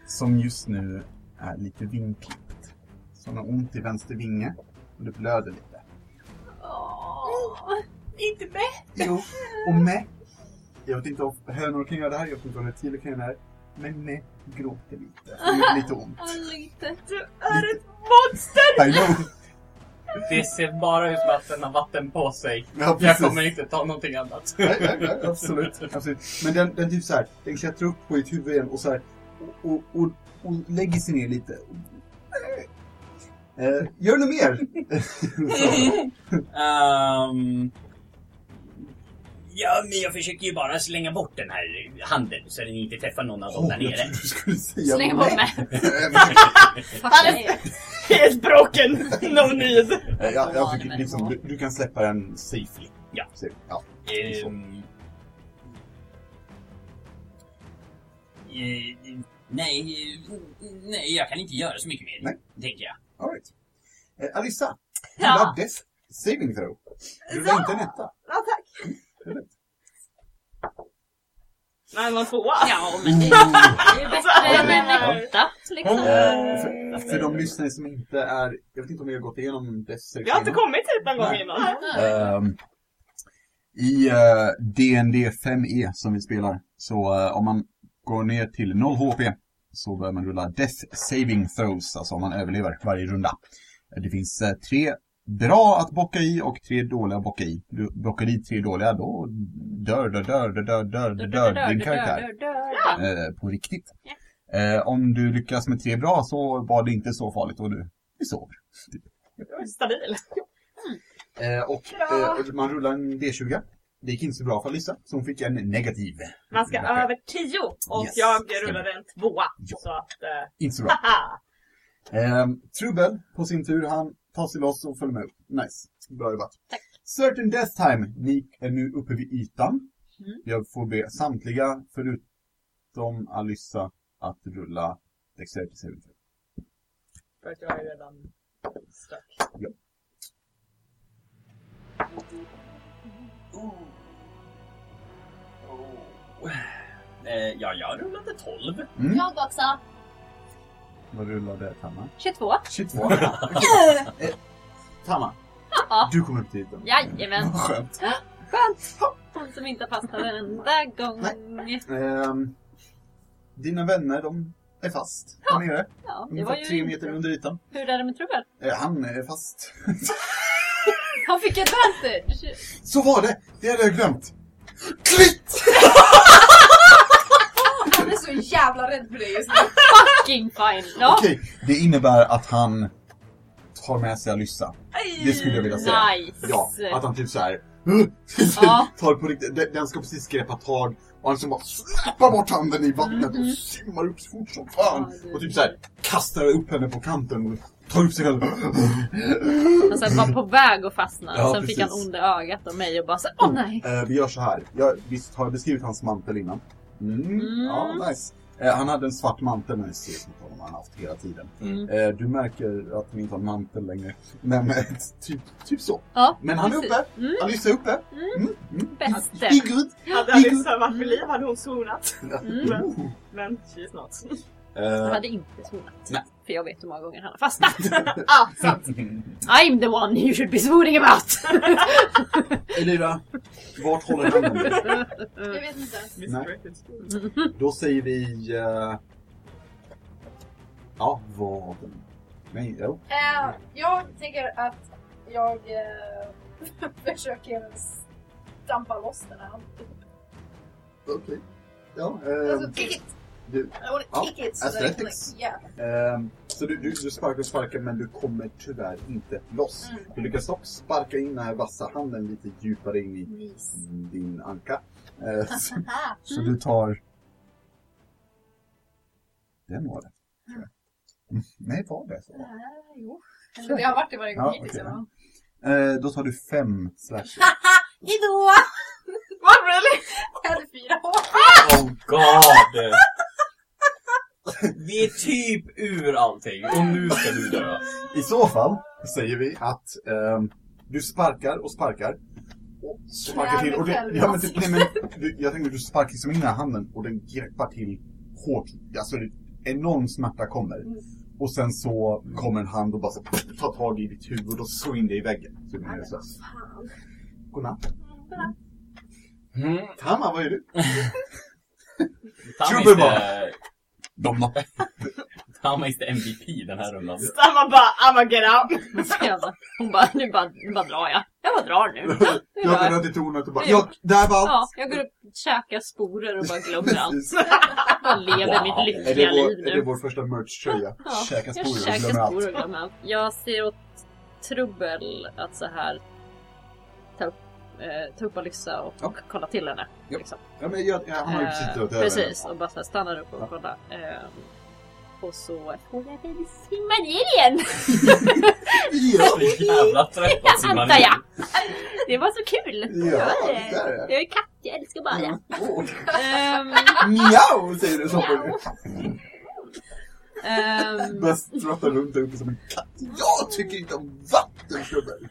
som just nu är lite vingklippt. Så hon har ont i vänster vinge och det blöder lite. Inte mig! Jo, och med. Jag vet inte om hönor kan göra det här, jag vet inte om reptiler kan göra det här. Men med gråter lite. Det gör lite ont. Lite. Är ett monster! I know. Det ser bara ut som att den har vatten på sig. Ja, Jag precis. kommer inte ta någonting annat. Nej, nej, nej, absolut, absolut. Men den, den typ så här, den klättrar upp på ditt huvud igen och så här, och, och, och, och lägger sig ner lite. Eh, gör något mer! Så. Ehm, ja, men jag försöker ju bara slänga bort den här handen så den inte träffar någon av dem där Åh, jag nere. trodde du skulle säga Släng bort nej. mig. Ehm, Alltså, Helt broken! No need! Nej, Jag, jag tycker men- liksom, du, du kan släppa den safely. Ja. Så, ja. Ehm, eh, nej, eh, nej, jag kan inte göra så mycket mer, Nej. tänker jag. All right. Eh, Alissa, du Ja. ja. death saving throw. Du ja. inte en etta. Ja, tack! Nej, man Alltså, tvåa. Ja, men det är ju Alltså, bättre Ja, men- än en åtta. Liksom. Eh, för, för de lyssnare som inte är... Jag vet inte om vi har gått igenom death saving Vi har inte innan. kommit hit någon gång Nej. innan. Ehm, I eh, DND 5E E som vi spelar, så eh, om man går ner till 0 HP så bör man rulla Death Saving Throws, alltså om man överlever varje runda. Eh, Det finns eh, tre bra att bocka i och tre dåliga att bocka i. Du bockar i tre dåliga, då dör, dör, dör, dör, dör, dör, dör, dör din karaktär eh, på riktigt. Eh, om du lyckas med tre bra så var det inte så farligt och du, du sov. Jag är Stabil. Eh, och Ja. eh, man rullar en D20. Det gick inte så bra för Lisa, så hon fick en negativ. Man ska Räcker. över 10 och Yes. jag rullade en tvåa. Ja. Så att, eh, Inte så bra. haha! Eh, Trubbel, på sin tur, han tar sig loss och följer med upp. Nice. Bra jobbat. Certain Death Time. Ni är nu uppe vid ytan. Mm. Jag får be samtliga, förutom Alissa, att rulla Dexterity Saving Throw. För att jag är redan stuck. Oh. Eh, ja, jag rullade 12. Jag också! Mm. Vad rullade Tanna? 22. 22. eh, Tanna, Ja. du kommer upp till ytan. Jajamän. Vad Skönt. Hon som inte fastnade en enda gång. Ehm, dina vänner, de är fast där nere. Ja, det var Ungefär tre ju... meter under ytan. Hur är det med Trubbel? Eh, han är fast. Han fick advantage! Så var det! Det hade jag glömt! Klitt! Han är så jävla rädd för dig just nu. Fucking fine! Ja, Okej, det innebär att han tar med sig Alyssa. Aj! Det skulle jag vilja säga. Nice! Ja, att han typ såhär... Ja. tar på riktigt, den, den ska precis greppa tag och han liksom bara släpar bort handen i vattnet och simmar upp så fort som fan. Mm-hmm. Ja, det är Och typ såhär kastar upp henne på kanten och tar upp sig själv. Han så här var på väg att fastna. Ja, Sen fick han precis. onda ögat av mig och bara så här, åh nej! Eh, vi gör så här. Jag, visst har jag beskrivit hans mantel innan? Mm. Ja, nice. Eh, han hade en svart mantel när ni ser som honom han har haft hela tiden. Mm. Eh, du märker att han inte har en mantel längre. Men eh, typ, typ så. Ja, Men han är precis. uppe. Mm. Alyssa är uppe. Mm. Bäste! Be good. Hade Alyssa varit vid liv hade hon sonat. Mm. Men she's not. Jag Eh, hade inte sonat. Nej. För jag vet hur många gånger han har fastnat. ah, sant. I'm the one you should be swooning about! Elira, vart håller handen dig? Jag vet inte ens. Misdirected spoon. Då säger vi... eh, ja, vaden. Nej, jo. Eh, jag tänker att jag eh, försöker stampa loss den här handen. Okej. Ja, eh, Alltså, kick it! du, I wanna Ja, kick it! So that I can, like, athletics. yeah. Ehm, så du, du, du sparkar och sparkar men du kommer tyvärr inte loss. Mm. Du lyckas dock sparka in den här vassa handen lite djupare in i Nice. Ah, din anka. Eh, så, Haha. så du tar... Den var det. tror jag. Mm, Nej, var det så? Ah, Jo. Eller Det har varit det varje gång Ja, hittills i okej, alla fall. Eh, då tar du fem slash. Hejdå! What really? Jag hade fyra hår. Oh god! Vi är typ ur allting och nu ska du dö. I så fall säger vi att ehm, du sparkar och sparkar. Och sparkar Knäar till. Och mig det, själv i ja, men typ, nej, men, du, jag tänker att du sparkar liksom in den här handen och den greppar till hårt. Alltså det, enorm smärta kommer. Mm. Och sen så kommer en hand och bara så, tar tag i ditt huvud och slår in dig i väggen. Så du är medvetslös. Godnatt. Mm. Tamma, vad är du? Tammis Trubbelbar. är, Domna. Tammis är MVP den här rundan. Stamma bara, I'mma get out. Så jag bara- Hon bara, nu bara, nu bara drar jag. Jag bara drar nu. Nu Jag drar går jag. runt i tornet och bara, Det är- ja, där var Ja, allt. jag går upp, käkar sporer och bara glömmer allt. Precis. Bara lever Wow. mitt Är det, lyckliga liv vår, är det nu. vår första merch-tröja? Ja, Käka Jag sporer och käkar glömmer allt. sporer och glömmer allt. Jag ser åt Trubbel att så här ta upp, eh, ta upp Alyssa och Ja. kolla till henne. Ja. Liksom. Ja, men jag, jag, han har ju Eh, precis dragit över den. precis, och bara så här stannar upp Ja. och kollar. Eh, och så får jag väl simma ner igen, Ja, Så jävla trött att simma antar ner. jag. Det var så kul! ja Ja, det- där är det. Jag är katt, jag älskar bara. Åh, Ehm, Mjau säger du som ehm, börjar strutta runt där uppe som en katt. Jag tycker inte om vatten gubben!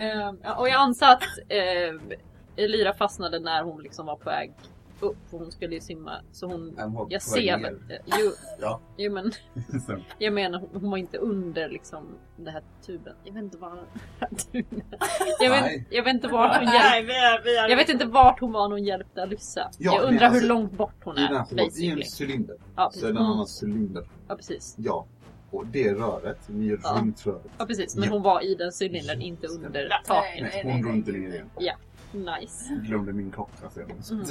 Ehm, ja, och jag antar att eh, Elira fastnade när hon liksom var på väg upp. För hon skulle ju simma. Så hon... Den var på Jag väg ser ner. väl. eh, Jo, Ja. jo, men Sen, jag menar hon hon var inte under liksom den här tuben. Jag vet inte vad den här tuben jag, Nej. vet, jag vet inte vart hon hjälpte. Nej, vi är, vi är Jag vet inte vart hon var när hon hjälpte Alyssa. Ja, jag men undrar alltså, hur långt bort hon I den är. här hål- i en Basically. Mm. cylinder. Ja, Så är det en annan cylinder. ja, precis. Ja. Och det röret, ni är Ja. runt röret. ja, precis. Men Ja. hon var i den cylindern, inte under Nej. taket. Nej, Nej, nej, hon nej. runt ner igen. Nice. Glömde min klocka sen. Mm.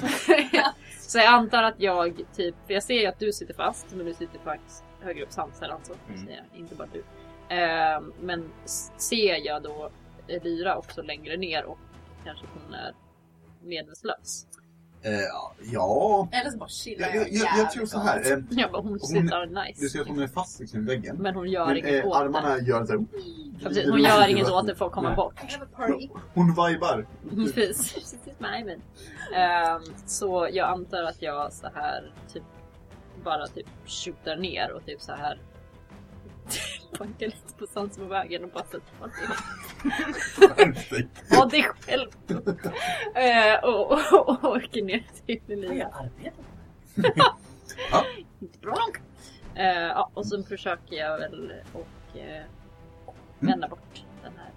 så jag antar att jag typ, för jag ser ju att du sitter fast, men du sitter faktiskt högre upp sansar alltså. Mm. säger jag, Inte bara du. Ehm, men s- ser jag då Elira också längre ner och kanske hon är medvetslös. Eh, ja. Eller så bara chillar Jag, jag, jag, jag tror så här. Eh, Jag bara, hon Hon- sitter nice. du ser att hon är fast liksom i väggen. Men hon gör Men inget eh, åt det. armarna gör så här. Ja, precis. Hon gör inget åt det för att komma Nej. bort. I have a party. Hon vibar. Precis. Precis med Ivan. Ehm, så jag antar att jag så här typ bara typ skjuter ner och typ så här bankar lite på sansen på vägen och bara sätter fart i den. Ja, det är själv. Ehm, och, och, och åker ner till Elina. Ja. Inte bra långt. Ehm, ja, och så försöker jag väl och eh, vända bort den här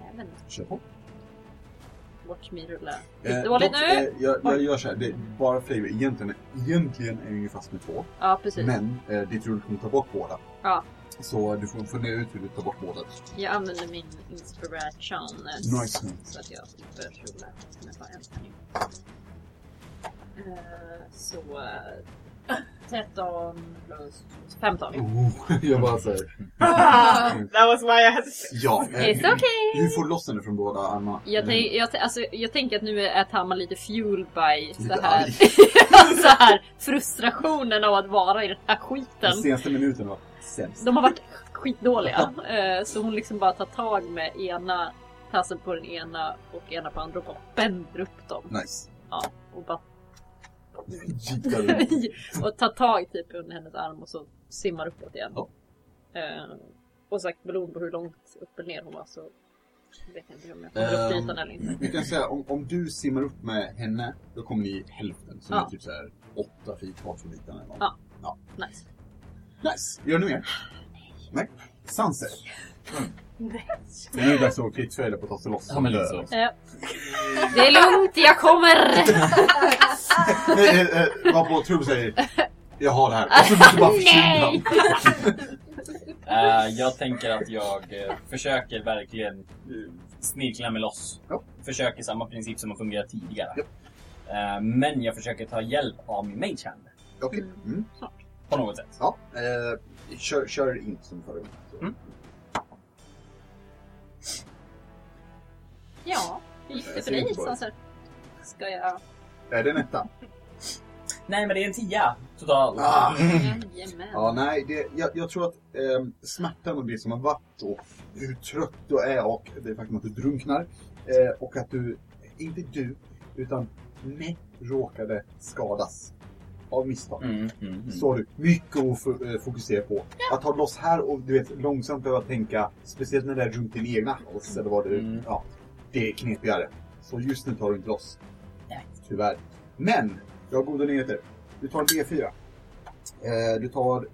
jäveln. Kör på. Watch me rulla. Eh, Dåligt dock, nu. Eh, jag, jag gör så här, det är bara flavor. Egentligen, egentligen är jag ju fast med två. Ja, precis. Men eh, ditt rull kommer ta bort båda. Ja. Så du får fundera ut hur du tar bort båda. Jag använder min inspiration eh, Nice. så att jag slipper rulla. Men bara en tärning. Eh, Så eh, 13 plus 15. Oh, jag bara säger. That was why I had to... Ja. eh, It's okay! Hur får du loss henne från båda armarna? Jag, tänk, jag, tänk- alltså, jag tänker att nu är att Hammar lite fueled by så Lite här, så här frustrationen av att vara i den här Den skiten. senaste minuten var sämst. De har varit skitdåliga. Eh, Så hon liksom bara tar tag med ena tassen på den ena och ena på andra och bara bänder upp dem. Nice. Ja, och, bara, Gitar du? och tar tag typ under hennes arm och så simmar uppåt igen. Ja. Eh, Och sagt beroende på hur långt upp eller ner hon var så vet jag inte om jag kommer upp till Ehm, ytan eller inte. Vi kan säga om, om du simmar upp med henne, då kommer ni hälften. Som Ja. är typ såhär åtta feet kvar från bitarna eller nåt. Ja. Nice. Nice! Gör ni mer? Nej. Sanser. Det är nu dags att krigsfölja på att ta sig loss. Ja, men lite så. Eh, Det är lugnt, jag kommer! Nej, eh, eh, Var på Trump säger jag har det här. Och så måste du bara försvinna. Eh, jag tänker att jag eh, försöker verkligen eh, snirkla mig loss. Ja. Försöker samma princip som har fungerat tidigare. Ja. Eh, men jag försöker ta hjälp av min mage hand. Okej. Mm. På något sätt. Ja. Eh, kör, kör in som förra gången. Mm. Ja, hur gick det för dig Sanser? Ska jag... Är det en etta? Nej men det är en tia totalt. Ah. Jajamän. Ja, nej, det, jag, jag tror att eh, smärtan och det som har varit och hur trött du är och det faktum att du drunknar eh, och att du, inte du, utan ni råkade skadas av misstag. Mm, mm, mm. Så har du mycket att fo- eh, fokusera på. Att ta loss här och du vet långsamt behöva tänka, speciellt när det är runt din egna hals eller vad du, Mm. ja, det är knepigare. Så just nu tar du inte loss. Nej. Tyvärr. Men, jag har goda nyheter. Du tar en D4. Eh, du tar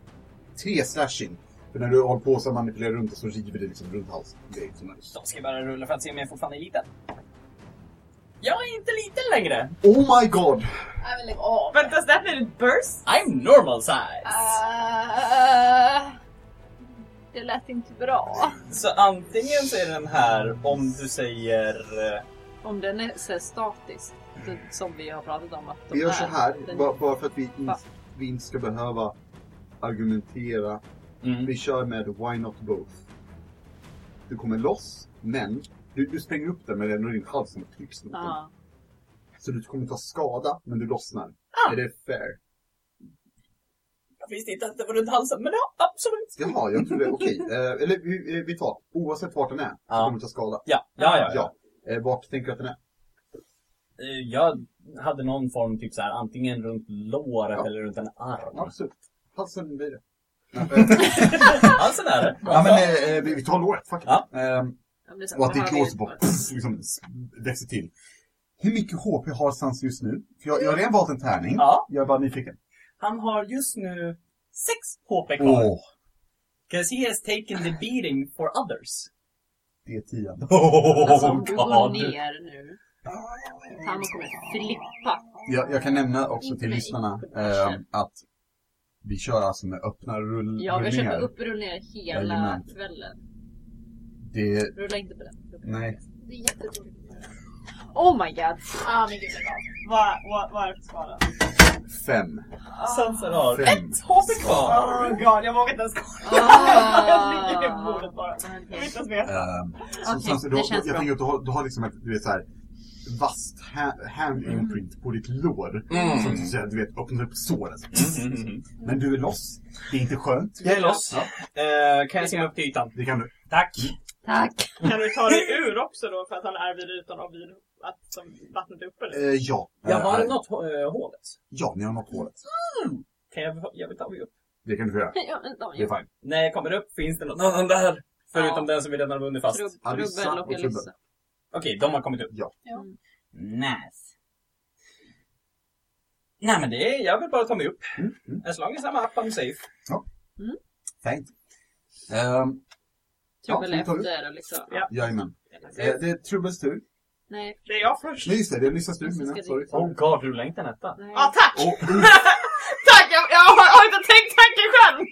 tre slashing. För när du håller på så manipulerar runt det så river det liksom runt halsen. Det är inte så nice. Då ska jag bara rulla för att se om jag fortfarande är liten. Jag är inte liten längre! Oh my god! Nej men lägg av. But does that mean it bursts? I'm normal size! Ah. Eh, Det lät inte bra. Så antingen så är den här om du säger... eh, Om den är så här statisk, så- som vi har pratat om att de Vi gör är. så här, Den, bara, bara för att vi, in, Va? vi inte ska behöva argumentera. Mm. Vi kör med why not both. Du kommer loss, men du, du spränger upp den men det är ändå din hals som trycks mot den. ja. Så du kommer ta skada, men du lossnar. Ah! Är det fair? Jag visste inte att det var runt halsen, men ja, absolut! Jaha, jag tror det. Okej. Eh, eller vi, eh, vi tar, oavsett vart den är, så Ja. kommer du ta skada. Ja, ja, ja. ja. Eh, vart tänker du att den är? Eh, Jag hade någon form, typ så här, antingen runt låret Ja. eller runt en arm. Absolut. Halsen blir det. Alltså där! Ja, men eh, eh, vi, vi tar låret. Fuck it. Ja. Ehm, Om det är så här, Och att vad ditt har vi- lås bara pff, liksom s- växer till. Hur mycket HP har Sans just nu? För jag, jag har redan valt en tärning. Ja. Jag är bara nyfiken. Han har just nu 6 HP Åh, kvar. 'Cause he has taken the beating for others. det är tian. Alltså om du går God. ner nu. Han kommer flippa. Jag, jag kan nämna också till Inte mig. lyssnarna ehm, att vi kör alltså med öppna rull, Jag har rullningar. kört upprullningar hela Jajamän. kvällen. Det, Rulla inte på den. nej. Det är jättetråkigt. Oh my god. Ah men gud lägg av. Vad vad- vad är det för skada? Fem. Ah. Sanser har Fem. HP kvar! Oh god, jag vågar inte ens kolla. Ah. Jag Ah. ligger i bordet bara. Jag vill inte ens veta. Ehm, så Okej, Sans, du, det har- känns jag bra. tänker att du har, du har liksom ett, du vet såhär, vasst ha- hand Mm. imprint på ditt lår. Mm. Som du, säger, du vet, öppnar upp såret. Mm, mm, mm. Men du är loss. Det är inte skönt. Jag är loss. Eh, kan jag simma upp till ytan? Det kan du. Tack! Tack. Kan du ta dig ur också då för att han är vid ytan och vid att, som vattnet är uppe? eller? Eh, ja. Jag har Eh, nått eh, hålet. Ja, ni har nått hålet. Kan jag, jag vill ta mig upp? Det kan du få göra. Ja, men de- Det är fine. När jag kommer upp finns det någon annan där. Förutom Ja. den som vi redan har bundit fast. Trubb- Alissa Trubbel och och liksom Trubbel. Elissa. Okej, de har kommit upp. Ja. Ja. Nice. Nej men det är, jag vill bara ta mig upp. Mm, mm. As long as I'm up I'm safe. Fint. Ehm, Trubbel Ja, vi tar ut. efter och liksom. Ja. jajamän. Eh, det är Trubbels tur. Nej. Det är jag först. Nej, just det. Det är Lissas tur. Lissa Mina. ska Sorry. dit. sorry. god, rulla inte en etta. nej. Ah, Ja, tack! Och, Tack! Jag, jag har, har inte tänkt tanken själv!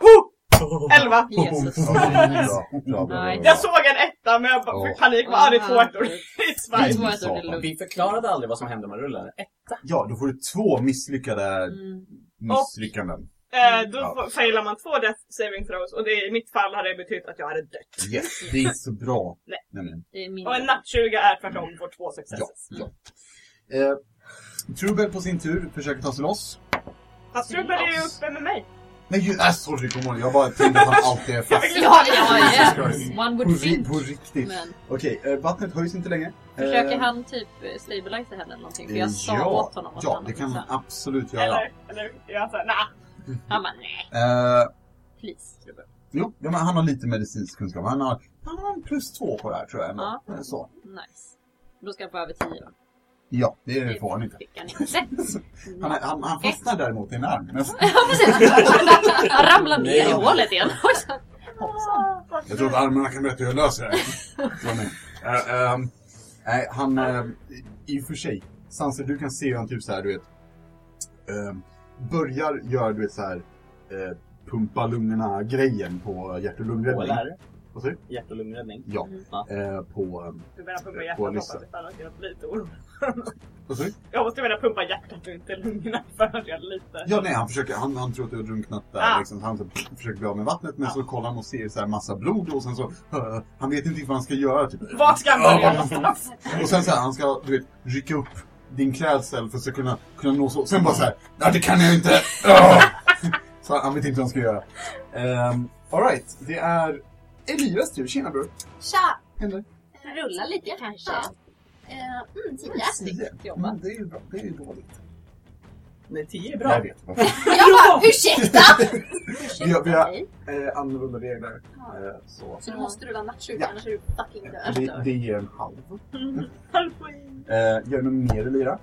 Oh! Elva! Jesus. Bra, bra, bra, bra, bra. Nej. Jag såg en åtta men jag bara fick Åh. panik. Vad är det Ah, två ettor? i Det är Sverige? två ettor, det är lugnt. Vi förklarade aldrig vad som händer med rullen. Ja, då får du två misslyckade Mm. misslyckanden. Eh, då Ja. ja. failar man två death saving throws och det, i mitt fall hade det betytt att jag hade dött. Yes, det är inte så bra. Nej. Nämligen. Det är Och en mindre. natt-20 är tvärtom, får två successes. Eh, Trubel på sin tur försöker ta sig loss. Fast Ruben är ju uppe med mig. Nej, ju, äh, sorry, god morgon. Jag bara tänkte att han alltid är fast. Ja, ja, Jesus ja. Christ. One På, would ri- think. på riktigt. Men Okej, eh, vattnet höjs inte längre. försöker Eh, han typ eh, stabilisa henne eller någonting? För eh, jag sa ja, åt honom att Ja, han liksom- det kan hade han sagt. absolut göra. Eller, eller jag sa nah. Han bara nej, Eh, please. Ruben. Jo, ja, men han har lite medicinsk kunskap. Han har, han har en plus två på det här tror jag. ändå. Ja. Eh, Så. Nice. Då ska han få över 10 då. Ja, det får han inte. fick han inte. Han, Nej. han, han fastnar däremot i en arm. Men Ja, precis. Han ramlar ner i hålet igen. jag tror att armarna kan berätta hur jag löser det. Från mig. Eh, ehm, Nej, han... eh, I och för sig. Sanser, du kan se hur han typ så här, du vet... ehm, börjar göra, du vet så här... eh, pumpa lungorna-grejen på hjärt och lungräddning. Eller? Vad säger Hjärt och lungräddning. Ja. Mhm. Eh, på... ehm, Du menar pumpa På hjärtat Nissa. hoppas jag att jag blir lite orolig. Vad säger du? Jag måste mena pumpa hjärtat och inte lungorna för att jag är lite... Ja, nej, han, försöker, han, han tror att du har drunknat där. Ah. Liksom, så han så, pff, försöker bli av med vattnet, men Ja. så kollar han och ser så här massa blod och sen så... eh, han vet inte riktigt vad han ska göra. Typ. Vart ska han börja någonstans? Och sen så här, han ska, du vet, rycka upp din klädsel för att så kunna, kunna nå så. Sen bara så här, nej det kan jag inte! Ah! så han vet inte vad han ska göra. Um, Alright, det är Elias tur. Tjena bror! Tja! Händer? Rulla lite kanske. Ja. Eh, Mm, tio. Snyggt jobbat. Mm, det är ju bra, det är ju dåligt. Nej, 10 är Jag bra. vet. vad- Jag bara, ursäkta! Vi har, vi har mig. eh, annorlunda regler. Eh, så. Så du måste rulla nattsjuk Ja. annars är du fucking död. Det, det ger en halv. Halvpoäng. Eh, gör du något mer Elira?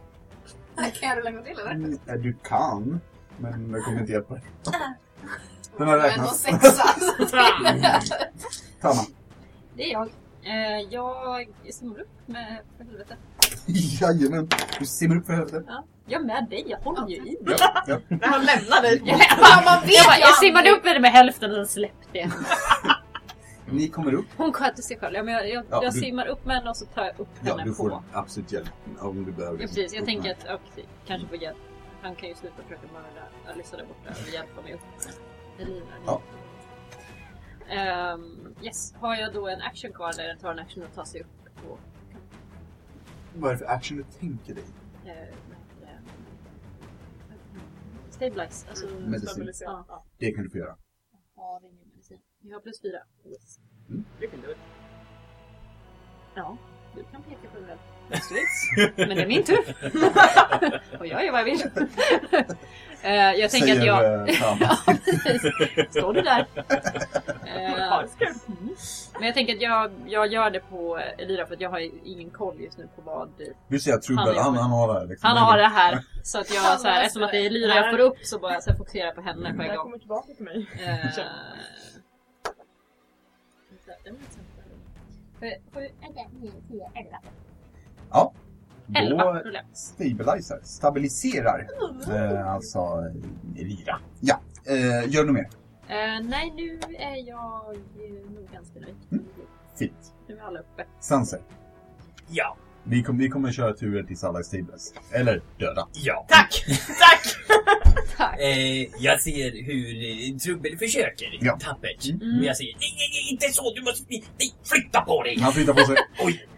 Kan jag rulla en gång till eller? Mm, eh, du kan, men det kommer inte hjälpa dig. Den har Men och räknats. sexa. Tamma. Det är jag. Eh, Jag simmar upp med, för helvete. Jajamän. Du simmar upp för helvete. Jag med dig, jag håller ju i. Ja, ja. När han lämnar dig. Jag, Fan, man vet jag, bara, ju jag aldrig. simmade upp med det med hälften och sen släppte jag. Ni kommer upp. Hon sköter sig själv. Ja, men jag jag, Ja, jag du- simmar upp med henne och så tar jag upp Ja, henne du på. får absolut hjälp om du behöver. Ja, precis. Jag tänker att jag kanske får hjälp. Han kan ju sluta försöka mörda Alyssa där borta och hjälpa mig upp. Elina. Ja. Ehm, yes, har jag då en action kvar där jag tar en action och tar sig upp på... Vad är det för action du tänker dig? eh, vad heter det? Stabilize, alltså... Medicin. Stabilisera. Ja. Det kan du få göra. Ja, det är ingen medicin. Jag har plus fyra. Yes. You can do it. Ja, du kan peka på det väl. Men det är min tur. och jag gör vad jag vill. Eh, jag tänker att jag... eh, Tama. Ja, precis. Står du där? Eh, Ja, det ska jag. men jag tänker att jag, jag gör det på Elira för att jag har ingen koll just nu på vad... Du ser att Trubbel, Han är- han, han har det här. Liksom. Han har det här. Så att Han jag så här, löser eftersom att det är det. Elira jag får upp så bara så här, fokuserar jag på henne på Det en här gång. kommer tillbaka till mig. Eh, vänta, den var inte så- Får jag- Ja. Elva Då rullar jag. stabiliserar, stabiliserar eh, alltså eh, Elira. Ja, eh, gör du mer? Eh, nej, nu är jag eh, nog ganska nöjd. Fint. Nu är alla uppe. Sanser. Ja. Vi, kom, vi kommer köra turer tills alla är stables. Eller döda. Ja. Tack! Tack! Tack! Eh, jag ser hur eh, Trubbel försöker Ja. tappert. Mm. Men jag säger nej, nej, nej, inte så! Du måste... Nej, flytta på dig! Han flyttar på sig.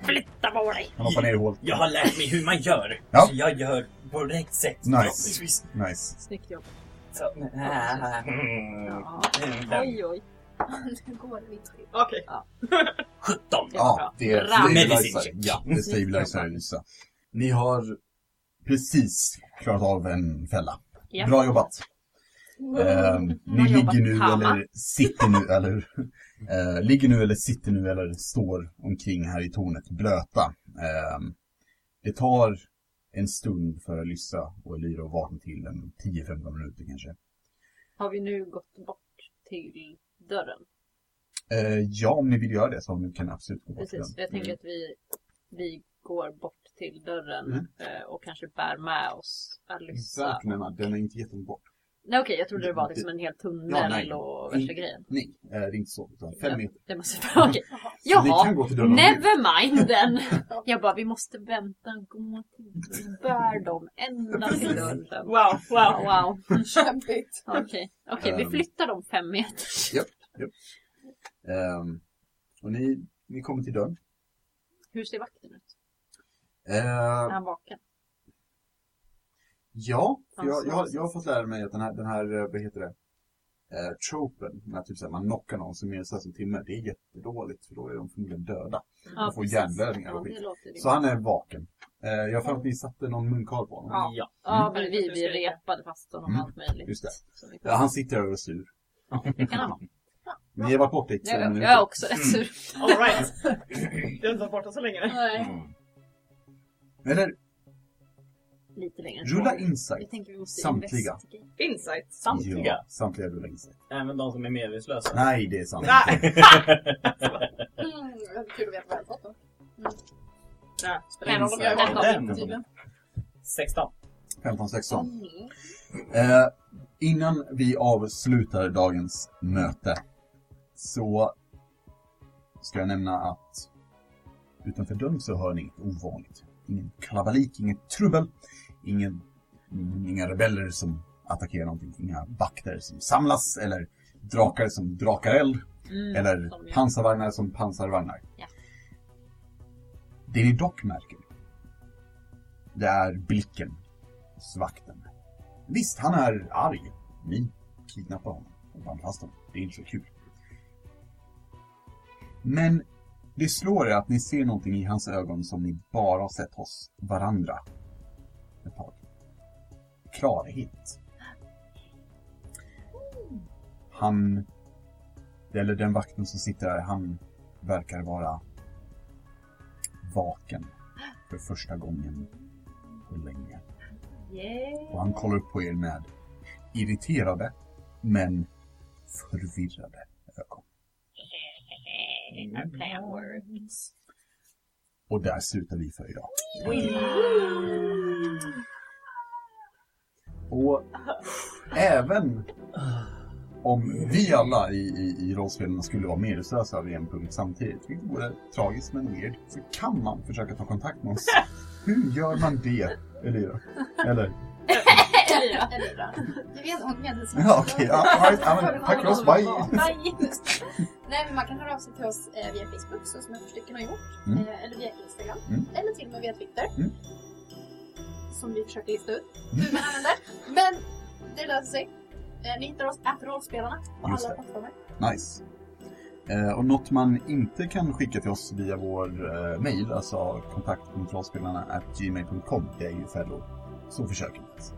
Flytta på dig! Han hoppar ner i hålet. Jag har lärt mig hur man gör. Ja. Så jag gör på rätt sätt. Nice. förhoppningsvis. Nice. Snyggt jobb. Så, mm, Ja. den, Oj, oj. Nu går det vitt skit. Okej. 17. Ja, det är Bra. Medicin stabilizer. check. Ja, det är stabilizer, Lisa. Ni har precis klarat av en fälla. Ja. Bra jobbat. Ehm, ni Bra jobbat, ligger nu Tama. eller sitter nu eller eh, ligger nu eller sitter nu eller står omkring här i tornet blöta. Ehm, det tar en stund för Lyssa och Elira att vakna till, en 10-15 minuter kanske. Har vi nu gått bort till dörren? Eh, ja, om ni vill göra det så ni kan absolut gå bort till Precis, den. jag tänker att vi, vi går bort till dörren Mm. eh, och kanske bär med oss Alyssa. Exakt, men den är inte gett dem bort. Nej okej, jag trodde det var liksom en hel tunnel nej. och värsta Mm. grejen. Nej, eh, det är inte så. Utan fem Ja. meter. Det måste vara okej. Så Ni Jaha, kan gå till dörren om ni vill. never mind then. Jag bara, vi måste vänta en gång till. Vi bär dem ända till dörren. Wow, wow. Ja, wow. Kämpigt. Okej, Okej, vi Ehm. flyttar dem fem meter. Ehm, och ni, ni kommer till dörren. Hur ser vakten ut? Är Ehm, han vaken? ja, för jag, Alltså. jag, har- jag har fått lära mig att den här, den här eh, vad heter det, eh, tropen, när typ så här, man knockar någon som är så här som timme, det är jättedåligt för då är de förmodligen döda. Ja, får precis. hjärnblödningar och Ja, det skit. låter rimligt. Så han är vaken. Eh, jag har för mig att ni satte någon munkar på honom. Ja. Ja, Ja. men vi, vi repade fast honom Mm, allt möjligt. just det. Så vi- Ja, han sitter över och är sur. Det kan han vara. Men ni har varit borta i två Jag, minuter. jag är också mm. rätt sur. Alright. Jag har inte varit borta så länge. Nej. Mm. Eller, Lite längre. rulla insight. Jag tänker vi måste Samtliga. investigate. Insight. Samtliga. Ja, samtliga rullar insight. Även de som är medvetslösa. Nej, det är sant. Nej, Mm, det hade kul att veta vad jag hade fått då. nej. Spelar ingen roll om jag Insight. är Den. vaken tydligen. 16. 15, 16. Mm. Eh, innan vi avslutar dagens möte så ska jag nämna att utanför dörren så hör ni inget ovanligt. Ingen kalabalik, inget trubbel, ingen, mm, inga rebeller som attackerar någonting, inga vakter som samlas eller drakar som drakar eld Mm, eller som jag- pansarvagnar som pansarvagnar. Ja. Det ni dock märker, det är blicken hos vakten. Visst, han är arg. Ni kidnappar honom och band fast honom. Det är inte så kul. Men det slår er att ni ser någonting i hans ögon som ni bara har sett hos varandra ett tag. Klarhet. Mm. Han eller den vakten som sitter där, han verkar vara vaken för första gången på länge. Yeah. Och han kollar upp på er med irriterade, men förvirrade ögon. Our plan works. Och där slutar vi för idag. Och även om vi alla i, i, i rollspelarna skulle vara medvetslösa över en punkt samtidigt, vilket vore tragiskt men weird, så kan man försöka ta kontakt med oss. Hur gör man det, Elira? Eller? Elira. Elira. Du vet ångest. Ja, okej. ja, all right, ja, men tack för oss, bye! Nej. Nej, men man kan höra av sig till oss eh, via Facebook, så som ett par stycken har gjort. Mm. Eh, eller via Instagram. Mm. Eller till och med via Twitter. Mm. Som vi försöker lista ut hur man använder. Men det löser sig. Eh, ni hittar oss att rollspelarna på Just alla det. plattformar. Nice. Eh, och något man inte kan skicka till oss via vår eh, mail, alltså kontaktkontrollspelarna gmail.com, det är ju Fellow. Så försök inte. ens.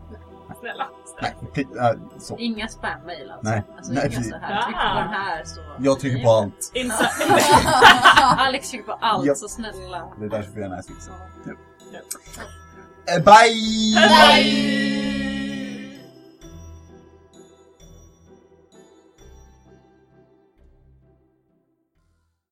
Snälla. Nej, kli- eh, så. Inga spam-mail alltså. Nej. alltså Nej, inga precis. så här. Tryck på den här så... Jag trycker på allt. Insight. Alex trycker på allt Japp. så snälla. Det är därför vi har den här sitsen. Så. Eh, bye! Bye!